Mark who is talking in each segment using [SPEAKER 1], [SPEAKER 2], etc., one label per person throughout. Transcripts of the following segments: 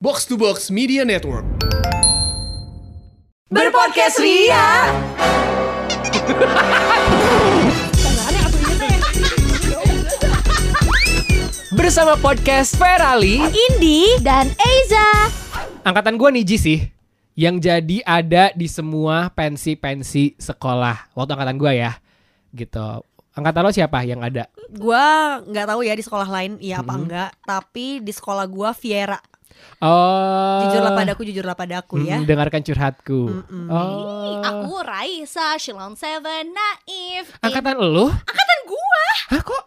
[SPEAKER 1] Box to Box Media Network.
[SPEAKER 2] Berpodcast Ria.
[SPEAKER 3] bersama podcast Ferali.
[SPEAKER 4] Indi dan Eiza.
[SPEAKER 3] Angkatan gua Niji sih yang jadi ada di semua pensi-pensi sekolah. Waktu angkatan gua ya. Gitu. Angkatan lo siapa yang ada?
[SPEAKER 2] Gua nggak tahu ya di sekolah lain iya apa enggak, tapi di sekolah gua Viera.
[SPEAKER 3] Oh.
[SPEAKER 2] Jujurlah padaku, jujurlah padaku ya.
[SPEAKER 3] Mm, dengarkan curhatku.
[SPEAKER 2] Mm-mm.
[SPEAKER 3] Oh.
[SPEAKER 4] Aku Raisa, Shilon Seven, Naif.
[SPEAKER 3] Angkatan lo?
[SPEAKER 4] Angkatan gua.
[SPEAKER 3] Hah kok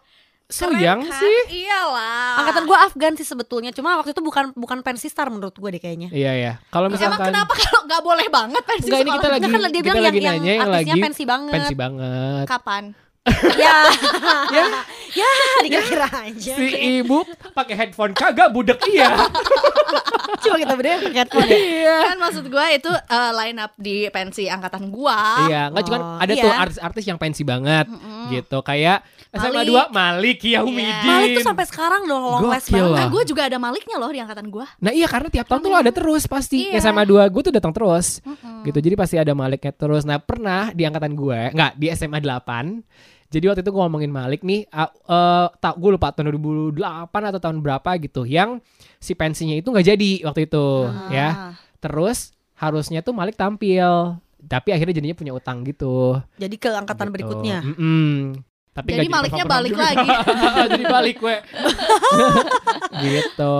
[SPEAKER 3] so
[SPEAKER 4] Keren
[SPEAKER 3] young
[SPEAKER 4] kan?
[SPEAKER 3] sih?
[SPEAKER 4] Iyalah.
[SPEAKER 2] Angkatan gua Afgan sih sebetulnya, cuma waktu itu bukan bukan pensi star menurut gua deh kayaknya.
[SPEAKER 3] Iya ya. Kalau
[SPEAKER 4] Emang
[SPEAKER 3] misalkan
[SPEAKER 4] kenapa kalau nggak boleh banget pensi
[SPEAKER 3] Enggak ini
[SPEAKER 4] sekolah?
[SPEAKER 3] kita lagi
[SPEAKER 2] Enggak, kan dia
[SPEAKER 3] kita
[SPEAKER 2] bilang
[SPEAKER 3] lagi
[SPEAKER 2] yang- yang
[SPEAKER 3] nanya yang
[SPEAKER 2] artisnya
[SPEAKER 3] lagi
[SPEAKER 2] pensi banget.
[SPEAKER 3] Pensi banget.
[SPEAKER 4] Kapan?
[SPEAKER 2] ya. ya. Ya, dikira-kira aja.
[SPEAKER 3] Si ibu pakai headphone kagak budek iya.
[SPEAKER 2] Coba kita bedain pakai headphone ya.
[SPEAKER 3] Iya.
[SPEAKER 4] Kan maksud gua itu eh, line up di pensi angkatan gua.
[SPEAKER 3] Iya, nggak cuman
[SPEAKER 2] Oh,
[SPEAKER 3] ada tuh
[SPEAKER 2] iya.
[SPEAKER 3] artis-artis yang pensi banget gitu. Kayak SMA
[SPEAKER 4] Malik.
[SPEAKER 3] 2 Malik Yaumidin.
[SPEAKER 2] Iya. Malik tuh sampai sekarang dong long les
[SPEAKER 3] Gokil
[SPEAKER 2] banget.
[SPEAKER 3] lah.
[SPEAKER 4] Nah, gua juga ada Maliknya loh di angkatan gua.
[SPEAKER 3] Nah, iya karena tiap tahun tuh lo ada terus pasti.
[SPEAKER 4] Iya.
[SPEAKER 3] SMA 2 gue tuh datang terus. Gitu. Jadi pasti ada Maliknya terus. Nah, pernah di angkatan gue, nggak di SMA 8. Jadi waktu itu gue ngomongin Malik nih, ah, eh tak gue lupa tahun 2008 atau tahun berapa gitu yang si pensinya itu nggak jadi waktu itu
[SPEAKER 2] Ah.
[SPEAKER 3] ya. Terus harusnya tuh Malik tampil, tapi akhirnya jadinya punya utang gitu.
[SPEAKER 2] Jadi ke angkatan
[SPEAKER 3] Gitu.
[SPEAKER 2] berikutnya.
[SPEAKER 3] Mm-mm. Tapi nggak
[SPEAKER 4] Jadi Maliknya
[SPEAKER 3] performer
[SPEAKER 4] balik
[SPEAKER 3] juga.
[SPEAKER 4] lagi.
[SPEAKER 3] jadi balik gue. gitu.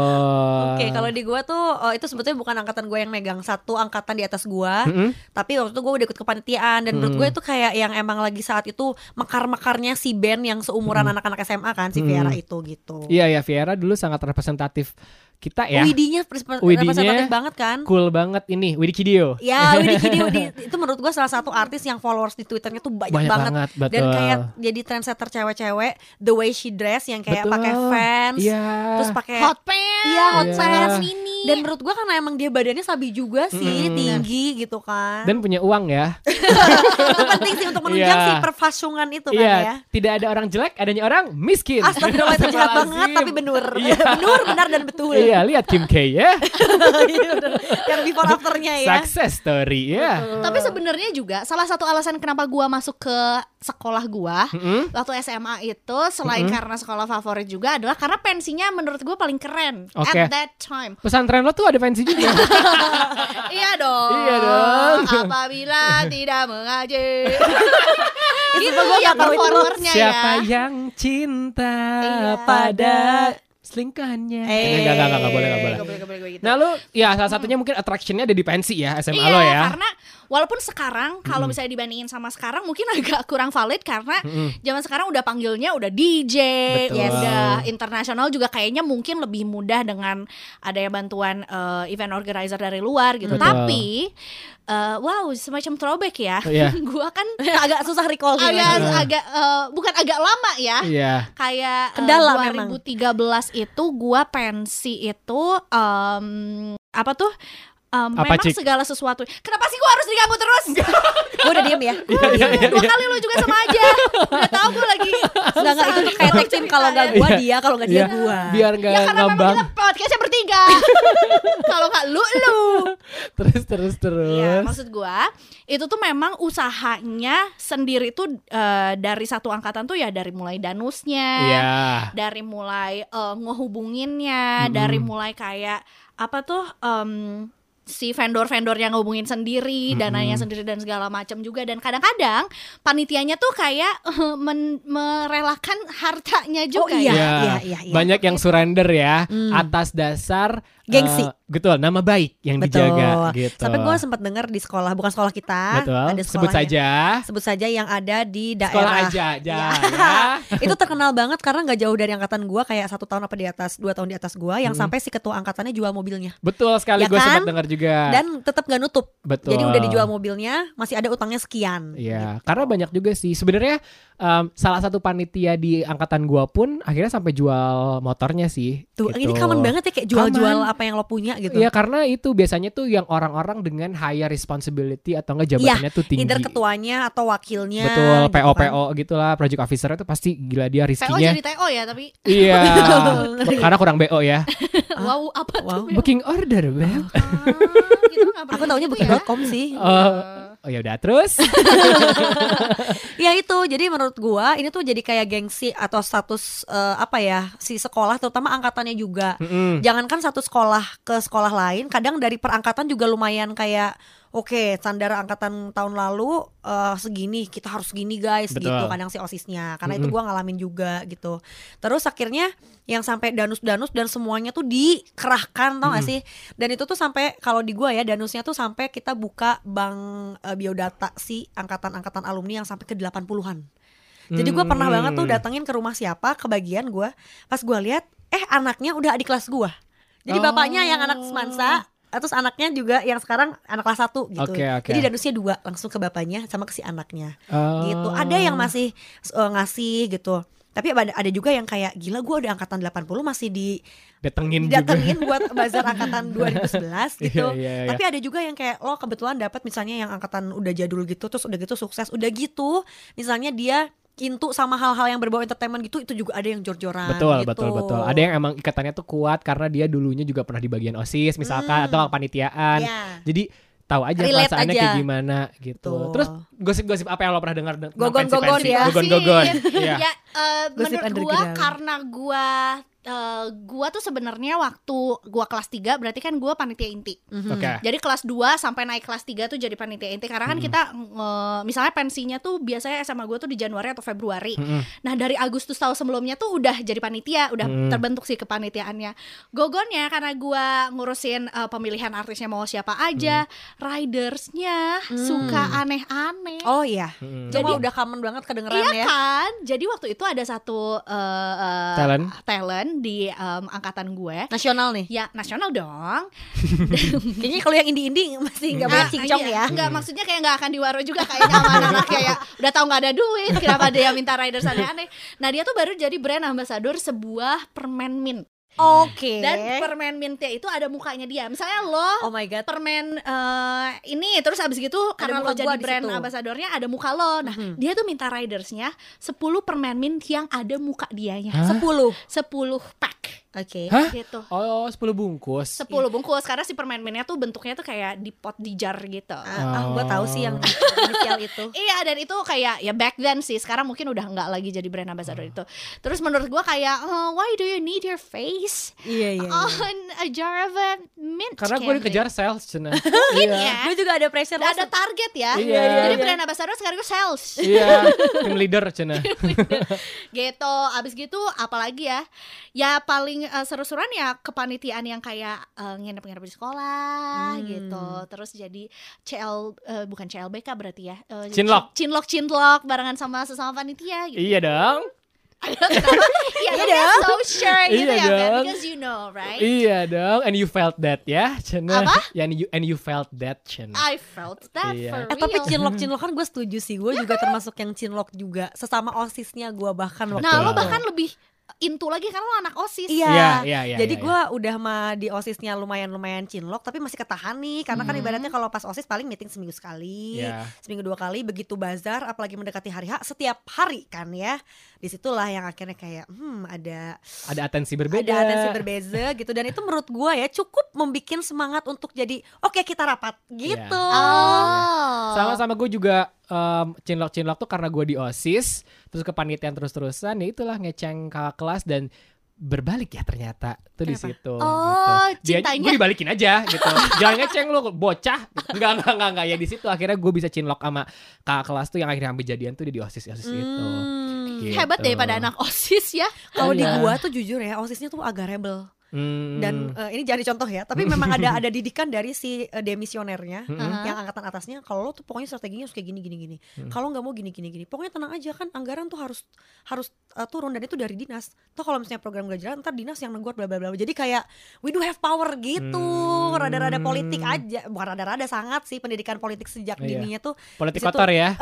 [SPEAKER 2] Oke, kalau di gua tuh oh, itu sebetulnya bukan angkatan gua yang megang satu angkatan di atas gua,
[SPEAKER 3] Mm-mm.
[SPEAKER 2] tapi waktu itu gue udah ikut kepanitiaan dan menurut gue
[SPEAKER 3] Hmm.
[SPEAKER 2] itu kayak yang emang lagi saat itu mekar-mekarnya si band yang seumuran anak-anak SMA kan si Viera itu gitu.
[SPEAKER 3] Hmm. Iya ya Viera dulu sangat representatif kita ya.
[SPEAKER 2] Widinya pres-
[SPEAKER 3] Widinya-
[SPEAKER 2] representatif banget kan?
[SPEAKER 3] Cool banget ini Widi Kidio.
[SPEAKER 2] Ya, Widi Kidi Widi itu menurut gue salah satu artis yang followers di Twitternya tuh banyak,
[SPEAKER 3] Banyak
[SPEAKER 2] banget.
[SPEAKER 3] banget, betul.
[SPEAKER 2] Dan kayak jadi trendsetter cewek-cewek, the way she dress yang kayak
[SPEAKER 3] Betul.
[SPEAKER 2] pakai fans,
[SPEAKER 3] Iya.
[SPEAKER 2] terus pakai
[SPEAKER 4] Hot pants.
[SPEAKER 2] Iya, hot
[SPEAKER 3] Iya.
[SPEAKER 2] pants.
[SPEAKER 4] mini.
[SPEAKER 2] Dan menurut gue karena emang dia badannya sabi juga sih,
[SPEAKER 3] Mm-mm.
[SPEAKER 2] tinggi gitu kan.
[SPEAKER 3] Dan punya uang ya.
[SPEAKER 2] itu penting sih untuk menunjang
[SPEAKER 3] Iya.
[SPEAKER 2] si perfasungan itu
[SPEAKER 3] Iya,
[SPEAKER 2] kan ya.
[SPEAKER 3] tidak ada orang jelek, adanya orang miskin.
[SPEAKER 2] Astagfirullah itu jahat banget
[SPEAKER 3] Astagfirullahaladzim.
[SPEAKER 2] tapi benur.
[SPEAKER 3] Iya.
[SPEAKER 2] benur benar dan betul.
[SPEAKER 3] Iya, Nah, lihat Kim K ya.
[SPEAKER 2] Iya, bener. Yang before afternya ya.
[SPEAKER 3] Success story ya.
[SPEAKER 4] Tapi sebenarnya juga salah satu alasan kenapa gua masuk ke sekolah gua
[SPEAKER 3] Hmm.
[SPEAKER 4] waktu SMA itu selain karena sekolah favorit juga adalah karena pensinya menurut gua paling keren
[SPEAKER 3] Oke.
[SPEAKER 4] at that time.
[SPEAKER 3] Pesantren lo tuh ada pensi juga.
[SPEAKER 4] Iya dong.
[SPEAKER 3] Iya dong.
[SPEAKER 4] Apabila tidak mengaji. gitu
[SPEAKER 2] Sumpah gua
[SPEAKER 4] ya
[SPEAKER 2] nggak tahu itu.
[SPEAKER 4] performernya ya.
[SPEAKER 3] Siapa yang cinta
[SPEAKER 4] Iya.
[SPEAKER 3] pada selingkuhannya?
[SPEAKER 2] Eh.
[SPEAKER 3] enggak, enggak, enggak, enggak boleh, enggak
[SPEAKER 4] Gak boleh,
[SPEAKER 3] boleh.
[SPEAKER 4] gak boleh, gak boleh gitu.
[SPEAKER 3] Nah lu, ya salah satunya mungkin attractionnya ada di pensi ya SMA
[SPEAKER 4] iya,
[SPEAKER 3] lo ya.
[SPEAKER 4] karena walaupun sekarang kalau misalnya dibandingin sama sekarang mungkin agak kurang valid karena zaman sekarang udah panggilnya udah DJ,
[SPEAKER 3] Betul.
[SPEAKER 4] ya udah internasional juga kayaknya mungkin lebih mudah dengan adanya bantuan eh, event organizer dari luar gitu.
[SPEAKER 3] Betul.
[SPEAKER 4] Tapi eh, wow, semacam throwback ya.
[SPEAKER 3] Iya.
[SPEAKER 4] Gua kan
[SPEAKER 2] Agak susah recall sih.
[SPEAKER 4] agak
[SPEAKER 2] Mas.
[SPEAKER 4] agak eh, bukan agak lama ya.
[SPEAKER 3] Iya.
[SPEAKER 4] Kayak eh,
[SPEAKER 2] Kendala
[SPEAKER 4] 2013 itu gua pensi itu em, apa tuh? Em,
[SPEAKER 3] Apa,
[SPEAKER 4] memang
[SPEAKER 3] Cik?
[SPEAKER 4] segala sesuatu. Kenapa sih gua harus diganggu terus?
[SPEAKER 2] Gua udah diem ya.
[SPEAKER 3] Iya, iya, iya,
[SPEAKER 4] Dua
[SPEAKER 3] iya.
[SPEAKER 4] kali lu juga sama aja. Udah tahu gua lagi.
[SPEAKER 2] Enggak enggak itu tuh kayak tag team kalau enggak gua dia, kalau enggak dia
[SPEAKER 3] ya. Iya,
[SPEAKER 2] gua.
[SPEAKER 3] Biar nggak
[SPEAKER 4] Ya karena memang
[SPEAKER 3] ngambang.
[SPEAKER 4] kita podcastnya bertiga. Kalau nggak lu lu.
[SPEAKER 3] Terus terus terus.
[SPEAKER 4] Iya, maksud gua itu tuh memang usahanya sendiri tuh eh, dari satu angkatan tuh ya dari mulai danusnya.
[SPEAKER 3] Iya.
[SPEAKER 4] dari mulai eh, ngehubunginnya, dari mulai kayak apa tuh em, si vendor-vendor yang ngehubungin sendiri, dananya sendiri dan segala macam juga dan kadang-kadang panitianya tuh kayak eh, men- merelakan hartanya juga.
[SPEAKER 2] iya.
[SPEAKER 4] ya.
[SPEAKER 2] iya, Hmm. iya.
[SPEAKER 3] gitu. Banyak yang surrender ya atas dasar
[SPEAKER 2] Gengsi.
[SPEAKER 3] eh, betul, nama baik yang dijaga gitu.
[SPEAKER 2] Sampai gua sempat dengar di sekolah, bukan sekolah kita,
[SPEAKER 3] betul.
[SPEAKER 2] ada
[SPEAKER 3] Sebut
[SPEAKER 2] sekolahnya.
[SPEAKER 3] saja.
[SPEAKER 2] Sebut saja yang ada di
[SPEAKER 3] Sekolah
[SPEAKER 2] daerah.
[SPEAKER 3] aja aja
[SPEAKER 2] Iya.
[SPEAKER 3] ya.
[SPEAKER 2] itu terkenal banget karena nggak jauh dari angkatan gua
[SPEAKER 3] Hmm.
[SPEAKER 2] kayak satu tahun apa di atas dua tahun di atas gua yang sampai si ketua angkatannya jual mobilnya
[SPEAKER 3] Betul sekali
[SPEAKER 2] Ya
[SPEAKER 3] gue
[SPEAKER 2] kan?
[SPEAKER 3] sempat dengar juga juga.
[SPEAKER 2] dan tetap nggak nutup.
[SPEAKER 3] Iya. Betul.
[SPEAKER 2] Jadi udah dijual mobilnya, masih ada utangnya sekian.
[SPEAKER 3] Iya, karena banyak juga sih. Sebenarnya em, salah satu panitia di angkatan gua pun akhirnya sampai jual motornya sih.
[SPEAKER 2] Tuh, ini
[SPEAKER 3] gitu.
[SPEAKER 2] common banget ya kayak jual-jual apa yang lo punya gitu.
[SPEAKER 3] Iya, karena itu biasanya tuh yang orang-orang dengan higher responsibility atau enggak jabatannya tuh tinggi.
[SPEAKER 2] Either Iya, ketuanya atau wakilnya.
[SPEAKER 3] Betul,
[SPEAKER 2] gitu
[SPEAKER 3] PO
[SPEAKER 2] kan.
[SPEAKER 3] PO gitulah, project officer itu pasti gila dia
[SPEAKER 4] TO
[SPEAKER 3] riskinya.
[SPEAKER 4] jadi TO ya tapi
[SPEAKER 3] Iya.
[SPEAKER 2] Bener.
[SPEAKER 3] karena kurang BO ya.
[SPEAKER 4] wow apa
[SPEAKER 2] Wow.
[SPEAKER 4] tuh? ya? Ah, gitu,
[SPEAKER 3] Booking order,
[SPEAKER 2] Iya.
[SPEAKER 3] Beb.
[SPEAKER 2] Aku taunya
[SPEAKER 4] bukan
[SPEAKER 2] booking.com sih.
[SPEAKER 3] Oh, oh ya udah terus.
[SPEAKER 2] Ya itu, jadi menurut gua ini tuh jadi kayak gengsi atau status eh, apa ya si sekolah terutama angkatannya juga.
[SPEAKER 3] Mm-mm.
[SPEAKER 2] Jangankan satu sekolah ke sekolah lain, kadang dari perangkatan juga lumayan kayak oke, standar angkatan tahun lalu eh, segini, kita harus gini guys
[SPEAKER 3] Betul. Hmm.
[SPEAKER 2] gitu. Kadang si OSISnya, karena itu
[SPEAKER 3] Mm-mm.
[SPEAKER 2] gua ngalamin juga gitu. Terus akhirnya yang sampai danus-danus dan semuanya tuh dikerahkan tau gak
[SPEAKER 3] Hmm.
[SPEAKER 2] sih? Dan itu tuh sampai kalau di gua ya danusnya tuh sampai kita buka bank eh, biodata si angkatan-angkatan alumni yang sampai ke 80-an. Jadi gua pernah
[SPEAKER 3] Hmm.
[SPEAKER 2] banget tuh datengin ke rumah siapa kebagian gua pas gua lihat eh anaknya udah di kelas gua. Jadi
[SPEAKER 3] Oh.
[SPEAKER 2] bapaknya yang anak semansa eh, terus anaknya juga yang sekarang anak kelas satu gitu.
[SPEAKER 3] Oke, oke.
[SPEAKER 2] Jadi danusnya dua langsung ke bapaknya sama ke si anaknya
[SPEAKER 3] Oh.
[SPEAKER 2] gitu. Ada yang masih eh, ngasih gitu. Tapi ada, ada juga yang kayak gila gua udah angkatan 80 masih di
[SPEAKER 3] datengin juga.
[SPEAKER 2] didatengin buat bazar angkatan 2011 gitu.
[SPEAKER 3] Iya, iya, iya.
[SPEAKER 2] Tapi ada juga yang kayak lo kebetulan dapat misalnya yang angkatan udah jadul gitu terus udah gitu sukses, udah gitu misalnya dia kintu sama hal-hal yang berbau entertainment gitu itu juga ada yang jor-joran
[SPEAKER 3] Betul,
[SPEAKER 2] gitu.
[SPEAKER 3] betul, betul. Ada yang emang ikatannya tuh kuat karena dia dulunya juga pernah di bagian OSIS misalkan atau kepanitiaan.
[SPEAKER 2] Hmm. Iya.
[SPEAKER 3] Jadi tahu aja
[SPEAKER 2] Relate
[SPEAKER 3] perasaannya kayak
[SPEAKER 2] aja.
[SPEAKER 3] gimana gitu.
[SPEAKER 2] Betul.
[SPEAKER 3] Terus gosip-gosip apa yang lo pernah dengar tentang
[SPEAKER 2] Gogon-gogon
[SPEAKER 3] pensi-pensi?
[SPEAKER 2] ya.
[SPEAKER 3] Gogon-gogon. Iya.
[SPEAKER 4] ya eh,
[SPEAKER 2] Gosip
[SPEAKER 4] menurut gua
[SPEAKER 2] underground.
[SPEAKER 4] karena gua eh, gua tuh sebenarnya waktu gua kelas 3 berarti kan gua panitia inti.
[SPEAKER 2] Mhm.
[SPEAKER 3] Oke.
[SPEAKER 4] Jadi kelas 2 sampai naik kelas 3 tuh jadi panitia inti karena kan
[SPEAKER 3] Hmm.
[SPEAKER 4] kita eh, misalnya pensinya tuh biasanya SMA gua tuh di Januari atau Februari.
[SPEAKER 3] Mm-mm.
[SPEAKER 4] Nah dari Agustus tahun sebelumnya tuh udah jadi panitia, udah
[SPEAKER 3] Hmm.
[SPEAKER 4] terbentuk sih kepanitiaannya. Gogonnya karena gua ngurusin eh, pemilihan artisnya mau siapa aja,
[SPEAKER 3] Hmm.
[SPEAKER 4] ridersnya suka aneh-aneh.
[SPEAKER 2] Hmm. Oh iya.
[SPEAKER 3] Mm-mm.
[SPEAKER 2] Jadi udah common banget kedengeran
[SPEAKER 4] Iya
[SPEAKER 2] ya.
[SPEAKER 4] kan? Jadi waktu itu ada satu eh, eh,
[SPEAKER 3] Talent?
[SPEAKER 4] talent di em, angkatan gue.
[SPEAKER 2] Nasional nih.
[SPEAKER 4] Ya nasional dong.
[SPEAKER 2] Kayaknya kalau yang indie-indie masih nggak banyak cincong ya.
[SPEAKER 4] Enggak, maksudnya kayak Nah, iya. nggak akan diwaro juga kayaknya sama anak-anak kayak udah tahu nggak ada duit, kenapa ada yang minta riders aneh-aneh. Nah, dia tuh baru jadi brand ambassador sebuah permen mint.
[SPEAKER 2] Oke.
[SPEAKER 4] Dan permen mintnya itu ada mukanya dia. Misalnya lo
[SPEAKER 2] Oh my god.
[SPEAKER 4] permen eh, ini terus abis gitu karena lo
[SPEAKER 2] muka
[SPEAKER 4] jadi
[SPEAKER 2] gua di
[SPEAKER 4] brand
[SPEAKER 2] situ.
[SPEAKER 4] ambasadornya ada muka lo. Nah, dia tuh minta ridersnya 10 permen mint yang ada muka dianya.
[SPEAKER 3] Hah?
[SPEAKER 2] 10. Oke.
[SPEAKER 4] 10 pack
[SPEAKER 3] Hah?
[SPEAKER 4] gitu.
[SPEAKER 3] Oh, 10 bungkus.
[SPEAKER 4] 10
[SPEAKER 2] Iya.
[SPEAKER 4] bungkus karena si permen mintnya tuh bentuknya tuh kayak di pot di jar gitu.
[SPEAKER 2] Ah, ah, gua tahu sih yang
[SPEAKER 3] Oh.
[SPEAKER 2] inisial itu.
[SPEAKER 4] Iya dan itu kayak ya back then sih sekarang mungkin udah nggak lagi jadi brand ambassador
[SPEAKER 3] Hmm.
[SPEAKER 4] itu. Terus menurut gua kayak oh, why do you need your face
[SPEAKER 2] Iya iya. iya.
[SPEAKER 4] on a jar of a mint?
[SPEAKER 3] Hmm. Karena gue
[SPEAKER 4] candy?
[SPEAKER 3] dikejar sales Cina.
[SPEAKER 4] Mungkin
[SPEAKER 3] Iya.
[SPEAKER 4] ya.
[SPEAKER 2] Gue juga ada pressure
[SPEAKER 4] Udah ada target ya.
[SPEAKER 3] Iya, iya,
[SPEAKER 4] Jadi
[SPEAKER 3] iya.
[SPEAKER 4] brand ambassador sekarang gue sales.
[SPEAKER 3] Iya, tim leader Cina.
[SPEAKER 4] gitu. Abis gitu apalagi ya? Ya paling eh, seru-seruan ya kepanitiaan yang kayak eh, nginep-nginep di sekolah
[SPEAKER 2] Hmm.
[SPEAKER 4] gitu. Terus jadi CL eh, bukan CLBK berarti ya. Eh, jadi
[SPEAKER 3] Cinlok.
[SPEAKER 4] cin- Cinlok-cinlok barengan sama sesama panitia gitu.
[SPEAKER 3] iya dong.
[SPEAKER 4] Kenapa? Iya
[SPEAKER 2] Iya
[SPEAKER 4] dong. So sure gitu
[SPEAKER 3] Iya
[SPEAKER 4] ya, Ben.
[SPEAKER 3] dong.
[SPEAKER 4] Because you know, right?
[SPEAKER 3] Iya dong. And you felt that ya, Cina.
[SPEAKER 4] Apa?
[SPEAKER 3] And you and you felt that Cina.
[SPEAKER 2] Ah,
[SPEAKER 4] I felt that
[SPEAKER 3] Iya.
[SPEAKER 4] for real.
[SPEAKER 2] Eh tapi cinlok-cinlok kan gue setuju sih Gue juga termasuk yang cinlok juga Sesama osisnya gue bahkan waktu
[SPEAKER 4] Nah, lo
[SPEAKER 2] itu.
[SPEAKER 4] bahkan lebih into lagi karena lo anak OSIS.
[SPEAKER 2] Iya
[SPEAKER 3] Iya, iya, iya,
[SPEAKER 2] Jadi
[SPEAKER 3] iya,
[SPEAKER 2] gue udah mah di osisnya lumayan-lumayan cinlok Tapi masih ketahan nih Karena kan ibaratnya kalau pas osis paling meeting seminggu sekali
[SPEAKER 3] Iya.
[SPEAKER 2] Seminggu dua kali Begitu bazar apalagi mendekati hari H Setiap hari kan ya Disitulah yang akhirnya kayak Hmm ada
[SPEAKER 3] Ada atensi berbeda.
[SPEAKER 2] ada atensi berbeza gitu dan itu menurut gua ya cukup membuat semangat untuk jadi oke kita rapat gitu
[SPEAKER 4] Oh.
[SPEAKER 3] Iya. Sama-sama gue juga em, cinlok-cinlok tuh karena gue di OSIS, terus kepanitiaan terus-terusan, ya itulah ngeceng kakak kelas dan berbalik ya ternyata tuh di
[SPEAKER 2] Kenapa?
[SPEAKER 3] situ. gitu.
[SPEAKER 4] Oh,
[SPEAKER 3] Dia,
[SPEAKER 4] cintanya.
[SPEAKER 3] gue dibalikin aja gitu. Jangan ngeceng lu bocah. Enggak enggak enggak enggak ya di situ akhirnya gue bisa cinlok sama kakak kelas tuh yang akhirnya ambil jadian tuh di, di OSIS OSIS gitu.
[SPEAKER 2] Hmm.
[SPEAKER 3] Gitu.
[SPEAKER 4] Hebat deh pada anak OSIS ya.
[SPEAKER 2] Kalau di
[SPEAKER 3] Iya.
[SPEAKER 2] gua tuh jujur ya, OSISnya tuh agak rebel.
[SPEAKER 3] Hmm.
[SPEAKER 2] dan eh, ini jadi contoh ya tapi memang ada ada didikan dari si eh, demisionernya
[SPEAKER 3] Hmm.
[SPEAKER 4] Mhm.
[SPEAKER 2] yang angkatan atasnya kalau lo tuh pokoknya strateginya harus kayak gini gini gini
[SPEAKER 3] Hmm.
[SPEAKER 2] kalau nggak mau gini gini gini pokoknya tenang aja kan anggaran tuh harus harus eh, turun dan itu dari dinas tuh kalau misalnya program gak jalan ntar dinas yang negor bla bla bla jadi kayak we do have power gitu
[SPEAKER 3] Hmm.
[SPEAKER 2] rada-rada politik aja bukan rada-rada sangat sih pendidikan politik sejak
[SPEAKER 3] Iya.
[SPEAKER 2] dininya tuh
[SPEAKER 3] politik
[SPEAKER 2] Situ-
[SPEAKER 3] kotor ya.